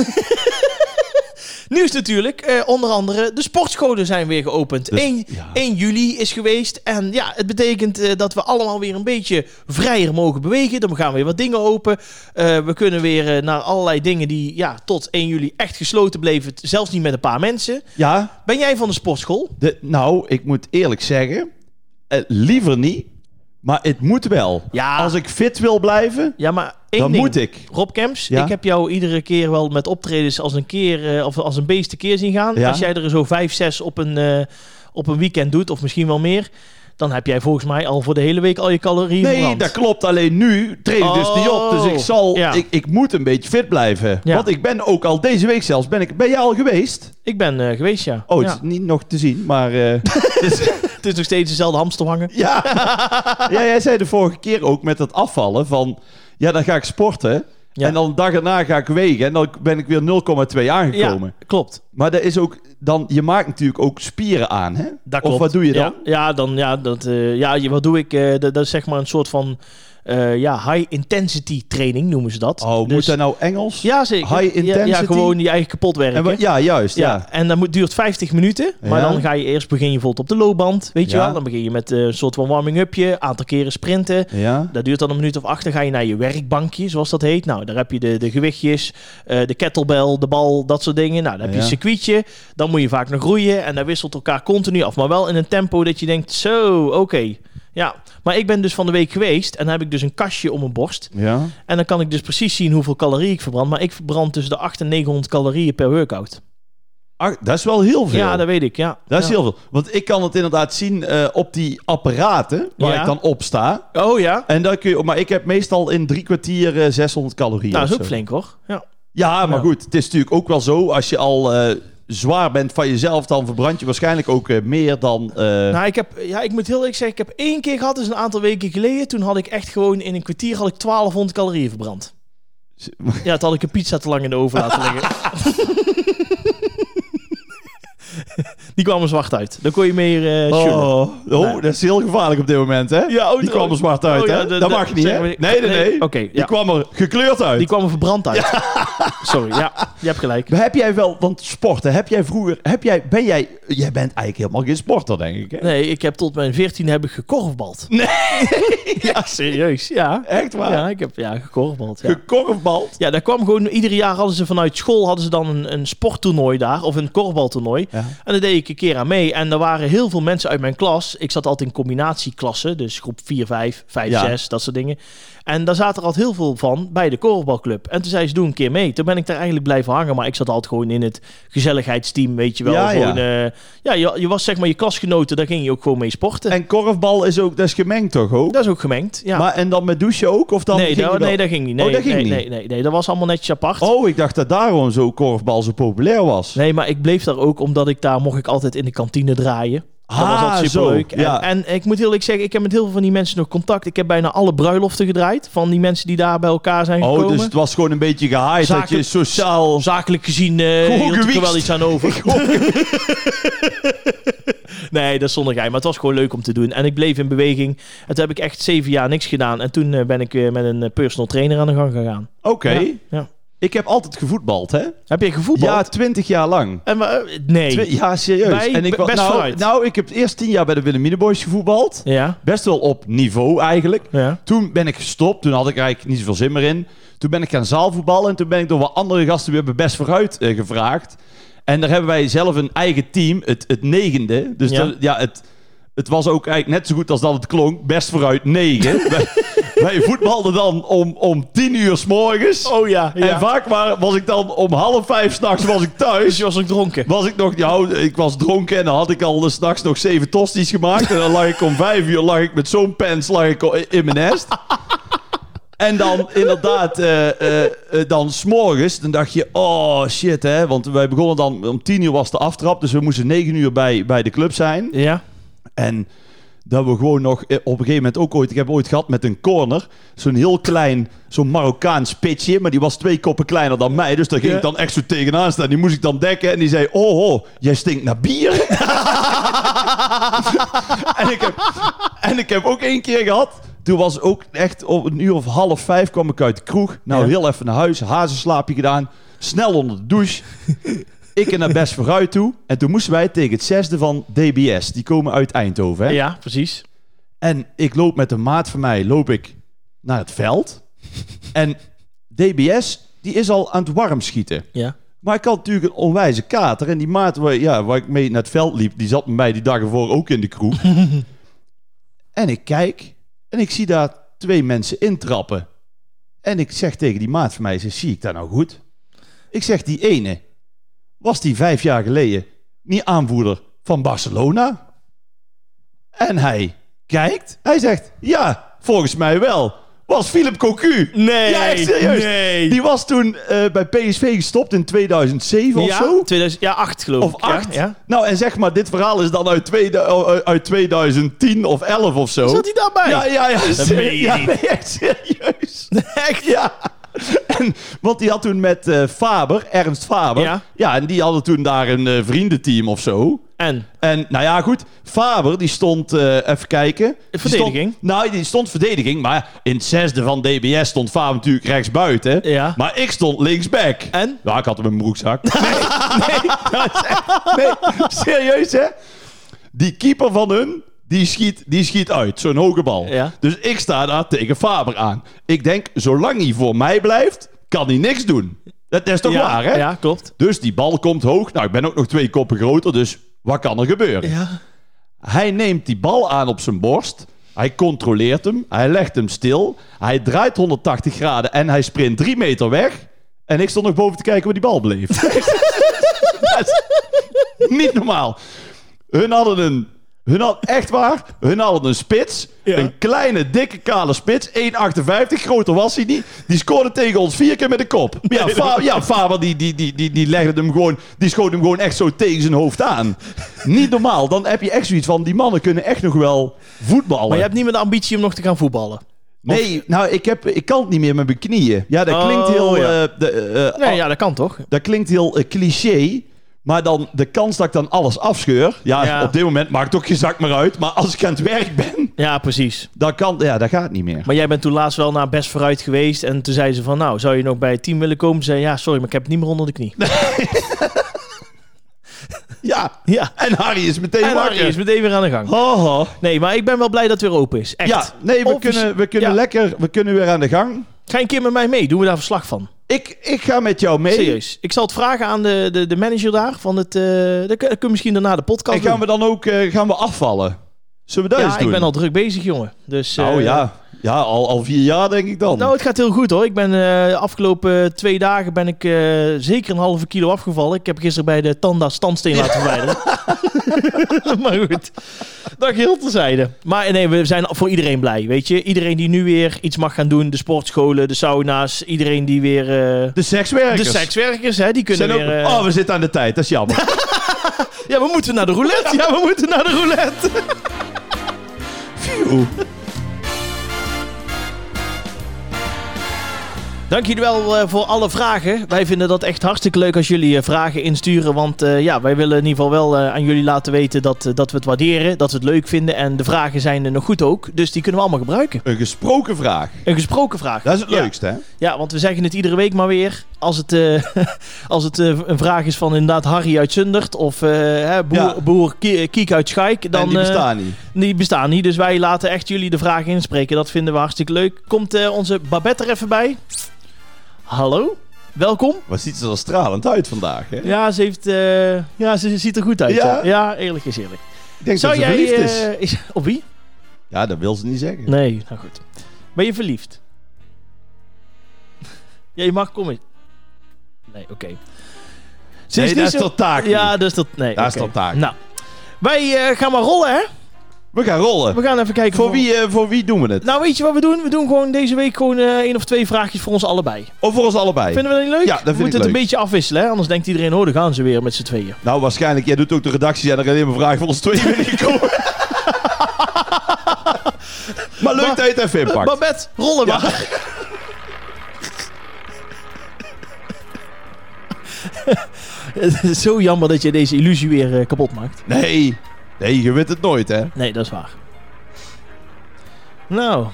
[SPEAKER 1] Nieuws natuurlijk. Eh, onder andere de sportscholen zijn weer geopend.
[SPEAKER 2] Dus,
[SPEAKER 1] 1,
[SPEAKER 2] ja.
[SPEAKER 1] 1 juli is geweest. En ja, het betekent eh, dat we allemaal weer een beetje vrijer mogen bewegen. Dan gaan weer wat dingen open. Eh, we kunnen weer eh, naar allerlei dingen die ja, tot 1 juli echt gesloten bleven. t- Zelfs niet met een paar mensen.
[SPEAKER 2] Ja,
[SPEAKER 1] Ben jij van de sportschool?
[SPEAKER 2] de, nou, ik moet eerlijk zeggen, eh, liever niet, maar het moet wel.
[SPEAKER 1] Ja.
[SPEAKER 2] Als ik fit wil blijven,
[SPEAKER 1] Ja, maar één
[SPEAKER 2] dan
[SPEAKER 1] ding.
[SPEAKER 2] moet ik.
[SPEAKER 1] Rob Kemps,
[SPEAKER 2] Ja?
[SPEAKER 1] ik heb jou iedere keer wel met optredens als een keer eh, of als een beest keer zien gaan.
[SPEAKER 2] Ja?
[SPEAKER 1] Als jij er zo vijf, zes op een, eh, op een weekend doet, of misschien wel meer, dan heb jij volgens mij al voor de hele week al je calorieën
[SPEAKER 2] Nee,
[SPEAKER 1] verbrand.
[SPEAKER 2] dat klopt. Alleen nu treed ik dus niet op. Dus ik zal,
[SPEAKER 1] Ja.
[SPEAKER 2] ik, ik moet een beetje fit blijven.
[SPEAKER 1] Ja.
[SPEAKER 2] Want ik ben ook al deze week zelfs, ben ik, ben jij al geweest?
[SPEAKER 1] Ik ben eh, geweest, ja.
[SPEAKER 2] Oh,
[SPEAKER 1] ja.
[SPEAKER 2] het is niet nog te zien, maar... eh, dus-
[SPEAKER 1] Het is nog steeds dezelfde hamsterhangen.
[SPEAKER 2] ja. ja, jij zei de vorige keer ook met dat afvallen van, ja, dan ga ik sporten.
[SPEAKER 1] Ja.
[SPEAKER 2] En dan een dag erna ga ik wegen en dan ben ik weer 0,2 aangekomen.
[SPEAKER 1] Ja, klopt.
[SPEAKER 2] Maar dat is ook, dan, je maakt natuurlijk ook spieren aan, hè?
[SPEAKER 1] Dat
[SPEAKER 2] of
[SPEAKER 1] klopt.
[SPEAKER 2] wat doe je dan?
[SPEAKER 1] Ja, ja, dan, ja, dat, eh, ja je- wat doe ik? Eh, dat, dat is zeg maar een soort van eh, ja, high-intensity training, noemen ze dat.
[SPEAKER 2] Oh, moet
[SPEAKER 1] Dus-
[SPEAKER 2] dat nou Engels?
[SPEAKER 1] Ja, zeker.
[SPEAKER 2] High
[SPEAKER 1] Ja, Ja,
[SPEAKER 2] intensity?
[SPEAKER 1] gewoon je eigen kapot werken.
[SPEAKER 2] En wat- ja juist, ja.
[SPEAKER 1] Ja, en dat moet, duurt 50 minuten. Maar
[SPEAKER 2] Ja.
[SPEAKER 1] dan ga je eerst begin je bijvoorbeeld op de loopband. Weet je
[SPEAKER 2] Ja.
[SPEAKER 1] wel? Dan begin je met eh, een soort van warming-upje, aantal keren sprinten.
[SPEAKER 2] Ja.
[SPEAKER 1] Dat duurt dan een minuut of acht. Dan ga je naar je werkbankje, zoals dat heet. Nou, daar heb je de, de gewichtjes, eh, de kettlebell, de bal, dat soort dingen. Nou, dan heb je
[SPEAKER 2] Ja.
[SPEAKER 1] een circuitje. Dan moet je vaak nog roeien. En dat wisselt elkaar continu af. Maar wel in een tempo dat je denkt, zo, oké. Ja, maar ik ben dus van de week geweest. En dan heb ik dus een kastje om mijn borst.
[SPEAKER 2] Ja.
[SPEAKER 1] En dan kan ik dus precies zien hoeveel calorieën ik verbrand. Maar ik verbrand tussen de 800 en 900 calorieën per workout.
[SPEAKER 2] Ach, dat is wel heel veel.
[SPEAKER 1] Ja, dat weet ik, ja.
[SPEAKER 2] Dat is
[SPEAKER 1] Ja.
[SPEAKER 2] heel veel. Want ik kan het inderdaad zien eh, op die apparaten waar
[SPEAKER 1] Ja.
[SPEAKER 2] ik dan op sta.
[SPEAKER 1] Oh ja?
[SPEAKER 2] En dan kun je, maar ik heb meestal in drie kwartier eh, 600 calorieën.
[SPEAKER 1] Nou, dat is
[SPEAKER 2] of
[SPEAKER 1] ook
[SPEAKER 2] zo.
[SPEAKER 1] flink hoor. Ja.
[SPEAKER 2] Ja, maar
[SPEAKER 1] Ja.
[SPEAKER 2] goed. Het is natuurlijk ook wel zo. Als je al eh, zwaar bent van jezelf, dan verbrand je waarschijnlijk ook eh, meer dan. eh,
[SPEAKER 1] Nou, ik, heb, ja, ik moet heel eerlijk zeggen, ik heb één keer gehad, dus een aantal weken geleden. Toen had ik echt gewoon in een kwartier had ik 1200 calorieën verbrand. Ja, toen had ik een pizza te lang in de oven laten liggen. Die kwam er zwart uit. Dan kon je meer eh
[SPEAKER 2] oh,
[SPEAKER 1] chillen.
[SPEAKER 2] oh, dat is heel gevaarlijk op dit moment, hè?
[SPEAKER 1] Ja, oh,
[SPEAKER 2] die kwam er
[SPEAKER 1] oh,
[SPEAKER 2] zwart uit,
[SPEAKER 1] oh, ja,
[SPEAKER 2] hè?
[SPEAKER 1] de-
[SPEAKER 2] dat
[SPEAKER 1] de-
[SPEAKER 2] mag niet, hè?
[SPEAKER 1] zeg maar-
[SPEAKER 2] Nee, nee, nee.
[SPEAKER 1] nee, oké,
[SPEAKER 2] Die
[SPEAKER 1] ja.
[SPEAKER 2] kwam er gekleurd uit.
[SPEAKER 1] Die kwam er verbrand uit. Sorry, ja, je hebt gelijk.
[SPEAKER 2] Heb jij wel, want sporten, heb jij vroeger, heb jij, ben jij, jij bent eigenlijk helemaal geen sporter, denk ik, hè?
[SPEAKER 1] Nee, ik heb tot mijn 14 heb ik gekorfbald. Nee! ja, serieus, ja.
[SPEAKER 2] Echt waar?
[SPEAKER 1] Ja, ik heb ja, gekorfbald, ja.
[SPEAKER 2] Gekorfbald?
[SPEAKER 1] Ja, daar kwam gewoon ieder jaar hadden ze vanuit school hadden ze dan een, een sporttoernooi daar of een korfbaltoernooi.
[SPEAKER 2] Ja.
[SPEAKER 1] En daar deed ik een keer aan mee. En er waren heel veel mensen uit mijn klas. Ik zat altijd in combinatieklassen. Dus groep 4, 5, 5,
[SPEAKER 2] Ja.
[SPEAKER 1] 6, dat soort dingen. En daar zaten er altijd heel veel van bij de korfbalclub. En toen zei ze, doe een keer mee. Toen ben ik daar eigenlijk blijven hangen. Maar ik zat altijd gewoon in het gezelligheidsteam, weet je wel.
[SPEAKER 2] Ja, ja.
[SPEAKER 1] gewoon, ja. ja, je, je was zeg maar je klasgenoten. Daar ging je ook gewoon mee sporten.
[SPEAKER 2] En korfbal is ook, dat is gemengd toch ook?
[SPEAKER 1] dat is ook gemengd, ja.
[SPEAKER 2] Maar en dan met douchen ook? Of dan
[SPEAKER 1] nee,
[SPEAKER 2] ging je
[SPEAKER 1] dat,
[SPEAKER 2] wel-
[SPEAKER 1] nee, dat ging niet. Nee,
[SPEAKER 2] Oh, dat ging
[SPEAKER 1] nee,
[SPEAKER 2] niet?
[SPEAKER 1] Nee, nee, nee, dat was allemaal netjes apart.
[SPEAKER 2] Oh, ik dacht dat daarom zo korfbal zo populair was.
[SPEAKER 1] Nee, maar ik bleef daar ook omdat ik daar mocht ik altijd in de kantine draaien. Dat was
[SPEAKER 2] Ah,
[SPEAKER 1] altijd
[SPEAKER 2] zo,
[SPEAKER 1] superleuk. En,
[SPEAKER 2] ja.
[SPEAKER 1] en ik moet heel eerlijk zeggen, ik heb met heel veel van die mensen nog contact. Ik heb bijna alle bruiloften gedraaid van die mensen die daar bij elkaar zijn
[SPEAKER 2] oh,
[SPEAKER 1] gekomen.
[SPEAKER 2] dus het was gewoon een beetje gehaaid dat je
[SPEAKER 1] Zakelijk-
[SPEAKER 2] sociaal...
[SPEAKER 1] Zakelijk gezien eh
[SPEAKER 2] Gewoon
[SPEAKER 1] hield ik er
[SPEAKER 2] gewiekst.
[SPEAKER 1] wel iets aan over. nee, dat is zonder gein. Maar het was gewoon leuk om te doen. En ik bleef in beweging. En toen heb ik echt zeven jaar niks gedaan. En toen eh, ben ik eh, met een eh, personal trainer aan de gang gegaan.
[SPEAKER 2] Oké.
[SPEAKER 1] Ja, ja.
[SPEAKER 2] Ik heb altijd gevoetbald, hè?
[SPEAKER 1] Heb je gevoetbald?
[SPEAKER 2] Ja, twintig jaar lang.
[SPEAKER 1] En, wa- eh, nee.
[SPEAKER 2] Twi- ja, serieus.
[SPEAKER 1] Wij
[SPEAKER 2] en ik
[SPEAKER 1] be-
[SPEAKER 2] was
[SPEAKER 1] best
[SPEAKER 2] nou,
[SPEAKER 1] vooruit.
[SPEAKER 2] nou, ik heb eerst tien jaar bij de Wilhelminenboys gevoetbald.
[SPEAKER 1] Ja,
[SPEAKER 2] Best wel op niveau eigenlijk.
[SPEAKER 1] ja.
[SPEAKER 2] Toen ben ik gestopt. Toen had ik eigenlijk niet zoveel zin meer in. Toen ben ik gaan zaalvoetballen. En toen ben ik door wat andere gasten weer bij Best Vooruit eh, gevraagd. En daar hebben wij zelf een eigen team. Het, het negende. Dus
[SPEAKER 1] Ja.
[SPEAKER 2] dat- ja, het, het was ook eigenlijk net zo goed als dat het klonk. Best Vooruit negen. wij, wij voetbalden dan om, om tien uur s morgens.
[SPEAKER 1] Oh ja,
[SPEAKER 2] En vaak wa- was ik dan om half vijf s'nachts was ik thuis.
[SPEAKER 1] Dus je was ook dronken?
[SPEAKER 2] Was ik nog, ja, ik was dronken en dan had ik al eh, 's nachts nog zeven tosties gemaakt. En dan lag ik om vijf uur lag ik met zo'n pens lag ik al i- in mijn nest. En dan inderdaad, eh, eh, eh, dan s'morgens, dan dacht je, oh shit hè. Want wij begonnen dan, om tien uur was de aftrap, dus we moesten negen uur bij, bij de club zijn.
[SPEAKER 1] Ja.
[SPEAKER 2] En dat we gewoon nog eh, op een gegeven moment ook ooit... Ik heb ooit gehad met een corner. Zo'n heel klein, zo'n Marokkaans pitje. Maar die was twee koppen kleiner dan mij. Dus daar ging
[SPEAKER 1] Ja.
[SPEAKER 2] ik dan echt zo tegenaan staan. Die moest ik dan dekken. En die zei, oh, oh jij stinkt naar bier. en, ik heb, en ik heb ook één keer gehad... Toen was ook echt op een uur of half vijf kwam ik uit de kroeg. Nou,
[SPEAKER 1] Ja.
[SPEAKER 2] heel even naar huis. Hazenslaapje gedaan. Snel onder de douche. Ik en naar Best vooruit toe. En toen moesten wij tegen het zesde van DBS. Die komen uit Eindhoven. Hè?
[SPEAKER 1] Ja, precies.
[SPEAKER 2] En ik loop met een maat van mij loop ik naar het veld. En DBS die is al aan het warm schieten.
[SPEAKER 1] Ja.
[SPEAKER 2] Maar ik had natuurlijk een onwijze kater. En die maat waar, ja, waar ik mee naar het veld liep, die zat met mij die dag ervoor ook in de kroeg. en ik kijk en ik zie daar twee mensen intrappen. En ik zeg tegen die maat van mij, ik zeg, zie ik dat nou goed? Ik zeg, die ene was die vijf jaar geleden niet aanvoerder van Barcelona? En hij kijkt, hij zegt, ja, volgens mij wel. Was Philip Cocu.
[SPEAKER 1] Nee.
[SPEAKER 2] Ja, echt serieus.
[SPEAKER 1] Nee.
[SPEAKER 2] Die was toen eh, bij PSV gestopt in 2007 of
[SPEAKER 1] ja,
[SPEAKER 2] zo.
[SPEAKER 1] 2000, ja, 8 geloof
[SPEAKER 2] Of
[SPEAKER 1] ik. Ja,
[SPEAKER 2] acht.
[SPEAKER 1] Ja,
[SPEAKER 2] Nou, en zeg maar, dit verhaal is dan uit, tweede- eh, uit 2010 of 11 of zo.
[SPEAKER 1] Zat hij daarbij?
[SPEAKER 2] Ja, ja, ja.
[SPEAKER 1] Dat
[SPEAKER 2] ser-
[SPEAKER 1] meen je
[SPEAKER 2] ja
[SPEAKER 1] niet.
[SPEAKER 2] nee, echt serieus. Echt? Ja. En, want die had toen met eh, Faber, Ernst Faber.
[SPEAKER 1] Ja.
[SPEAKER 2] en die hadden toen daar een eh, vriendenteam of zo.
[SPEAKER 1] En?
[SPEAKER 2] En nou ja, goed. Faber, die stond, eh, even kijken. Die
[SPEAKER 1] Verdediging.
[SPEAKER 2] stond- nou, die stond verdediging. Maar in het zesde van DBS stond Faber natuurlijk rechtsbuiten.
[SPEAKER 1] Ja.
[SPEAKER 2] Maar ik stond linksback.
[SPEAKER 1] En?
[SPEAKER 2] Ja, ik had hem in mijn broekzak. Nee, nee, dat is echt- nee, serieus hè? Die keeper van hun, die schiet, die schiet uit. Zo'n hoge bal.
[SPEAKER 1] Ja.
[SPEAKER 2] Dus ik sta daar tegen Faber aan. Ik denk, zolang hij voor mij blijft, kan hij niks doen. Dat is toch
[SPEAKER 1] ja,
[SPEAKER 2] waar hè?
[SPEAKER 1] Ja, klopt.
[SPEAKER 2] Dus die bal komt hoog. Nou, ik ben ook nog twee koppen groter, dus wat kan er gebeuren?
[SPEAKER 1] Ja.
[SPEAKER 2] Hij neemt die bal aan op zijn borst. Hij controleert hem. Hij legt hem stil. Hij draait 180 graden en hij sprint drie meter weg. En ik stond nog boven te kijken waar die bal bleef. Dat is niet normaal. Hun hadden een... Hun had, echt waar, hun hadden een spits.
[SPEAKER 1] Ja.
[SPEAKER 2] Een kleine, dikke, kale spits. 1,58. Groter was hij niet. Die scoorde tegen ons vier keer met de kop. Ja, Fa- ja Faber die, die, die, die, die legde hem gewoon... Die schoot hem gewoon echt zo tegen zijn hoofd aan. Niet normaal. Dan heb je echt zoiets van... Die mannen kunnen echt nog wel voetballen.
[SPEAKER 1] Maar je hebt niet meer de ambitie om nog te gaan voetballen.
[SPEAKER 2] Nee, nou, ik, heb, ik kan het niet meer met mijn knieën. Ja, dat
[SPEAKER 1] Oh,
[SPEAKER 2] klinkt heel...
[SPEAKER 1] ja.
[SPEAKER 2] eh, de- eh,
[SPEAKER 1] Nee,
[SPEAKER 2] ah,
[SPEAKER 1] ja, dat kan toch?
[SPEAKER 2] dat klinkt heel eh, cliché. Maar dan de kans dat ik dan alles afscheur. Ja,
[SPEAKER 1] Ja.
[SPEAKER 2] op dit moment maakt ook je zak maar uit. Maar als ik aan het werk ben,
[SPEAKER 1] Ja, precies.
[SPEAKER 2] dan kan, ja, dat gaat niet meer.
[SPEAKER 1] Maar jij bent toen laatst wel naar Best Vooruit geweest. En toen zei ze van, nou, zou je nog bij het team willen komen? Ze zei, ja, sorry, maar ik heb het niet meer onder de knie.
[SPEAKER 2] Ja,
[SPEAKER 1] Ja.
[SPEAKER 2] en Harry is meteen
[SPEAKER 1] En dan
[SPEAKER 2] wakker.
[SPEAKER 1] is meteen weer aan de gang.
[SPEAKER 2] Ho, ho.
[SPEAKER 1] Nee, maar ik ben wel blij dat het weer open is. Echt.
[SPEAKER 2] Ja, nee, we
[SPEAKER 1] Offici-
[SPEAKER 2] kunnen, we kunnen
[SPEAKER 1] Ja.
[SPEAKER 2] lekker, we kunnen weer aan de gang.
[SPEAKER 1] Ga je een keer met mij mee? Doen we daar verslag van?
[SPEAKER 2] Ik, ik ga met jou mee.
[SPEAKER 1] Serieus. Ik zal het vragen aan de, de, de manager daar. Van het, eh dat kun- dat kun je misschien daarna de podcast
[SPEAKER 2] En gaan
[SPEAKER 1] doen.
[SPEAKER 2] we dan ook eh, gaan we afvallen? Zullen we dat eens
[SPEAKER 1] ja,
[SPEAKER 2] doen?
[SPEAKER 1] ik ben al druk bezig, jongen. Dus,
[SPEAKER 2] Nou
[SPEAKER 1] eh,
[SPEAKER 2] ja, ja al, al vier jaar denk ik dan.
[SPEAKER 1] Nou, het gaat heel goed hoor. Ik ben eh, de afgelopen twee dagen ben ik eh, zeker een halve kilo afgevallen. Ik heb gisteren bij de Tanda standsteen laten verwijderen. maar goed, dat geheel terzijde. Maar nee, we zijn voor iedereen blij, weet je. Iedereen die nu weer iets mag gaan doen. De sportscholen, de sauna's. Iedereen die weer... eh,
[SPEAKER 2] de sekswerkers.
[SPEAKER 1] de sekswerkers, hè, die kunnen
[SPEAKER 2] Zijn ook,
[SPEAKER 1] weer... eh,
[SPEAKER 2] Oh, we zitten aan de tijd. Dat is jammer.
[SPEAKER 1] Ja, we moeten naar de roulette. Ja, we moeten naar de roulette.
[SPEAKER 2] Phew.
[SPEAKER 1] Dank jullie wel eh, voor alle vragen. Wij vinden dat echt hartstikke leuk als jullie eh, vragen insturen. Want eh, ja, wij willen in ieder geval wel eh, aan jullie laten weten dat, eh, dat we het waarderen. Dat we het leuk vinden. En de vragen zijn er nog goed ook. Dus die kunnen we allemaal gebruiken.
[SPEAKER 2] Een gesproken vraag.
[SPEAKER 1] Een gesproken vraag.
[SPEAKER 2] Dat is het
[SPEAKER 1] Ja.
[SPEAKER 2] leukste, hè?
[SPEAKER 1] Ja, want we zeggen het iedere week maar weer. Als het, eh, als het eh, een vraag is van inderdaad Harry uit Zundert. Of eh, hè, boer,
[SPEAKER 2] Ja.
[SPEAKER 1] boer Kie- Kiek uit Schaik. Dan,
[SPEAKER 2] en die
[SPEAKER 1] eh,
[SPEAKER 2] bestaan niet.
[SPEAKER 1] die bestaan niet. Dus wij laten echt jullie de vragen inspreken. Dat vinden we hartstikke leuk. Komt eh, onze Babette er even bij. Hallo, welkom.
[SPEAKER 2] Wat ziet ze er stralend uit vandaag, hè?
[SPEAKER 1] Ja, ze, heeft, eh, ja, ze ze ziet er goed uit.
[SPEAKER 2] Ja?
[SPEAKER 1] Ja, ja eerlijk is eerlijk.
[SPEAKER 2] Ik denk
[SPEAKER 1] Zou
[SPEAKER 2] dat ze
[SPEAKER 1] jij...
[SPEAKER 2] verliefd dus. is.
[SPEAKER 1] eh, is- Op wie?
[SPEAKER 2] Ja, dat wil ze niet zeggen.
[SPEAKER 1] Nee, nou goed. Ben je verliefd? ja, je mag komen. Nee, oké. Ze
[SPEAKER 2] Nee,
[SPEAKER 1] niet
[SPEAKER 2] dat is
[SPEAKER 1] zo-
[SPEAKER 2] tot taak.
[SPEAKER 1] Ja, dat is dat... Nee,
[SPEAKER 2] Dat is
[SPEAKER 1] oké.
[SPEAKER 2] tot taak.
[SPEAKER 1] Nou, wij eh, gaan maar rollen, hè?
[SPEAKER 2] We gaan rollen.
[SPEAKER 1] We gaan even kijken...
[SPEAKER 2] Voor wie, eh, voor wie doen we het?
[SPEAKER 1] Nou, weet je wat we doen? We doen gewoon deze week gewoon eh, één of twee vraagjes voor ons allebei.
[SPEAKER 2] Of voor ons allebei?
[SPEAKER 1] Vinden we dat niet leuk?
[SPEAKER 2] Ja, dat vind
[SPEAKER 1] we
[SPEAKER 2] ik
[SPEAKER 1] moeten het
[SPEAKER 2] leuk.
[SPEAKER 1] een beetje afwisselen, hè? anders denkt iedereen, oh, daar gaan ze weer met z'n tweeën.
[SPEAKER 2] Nou, waarschijnlijk. Jij doet ook de redactie en er alleen maar vragen voor ons twee binnenkomen. maar leuk dat je het even inpakt.
[SPEAKER 1] Babette, rollen
[SPEAKER 2] Ja.
[SPEAKER 1] maar. Het is zo jammer dat je deze illusie weer eh, kapot maakt.
[SPEAKER 2] Nee. Nee, je weet het nooit, hè?
[SPEAKER 1] Nee, dat is waar. Nou,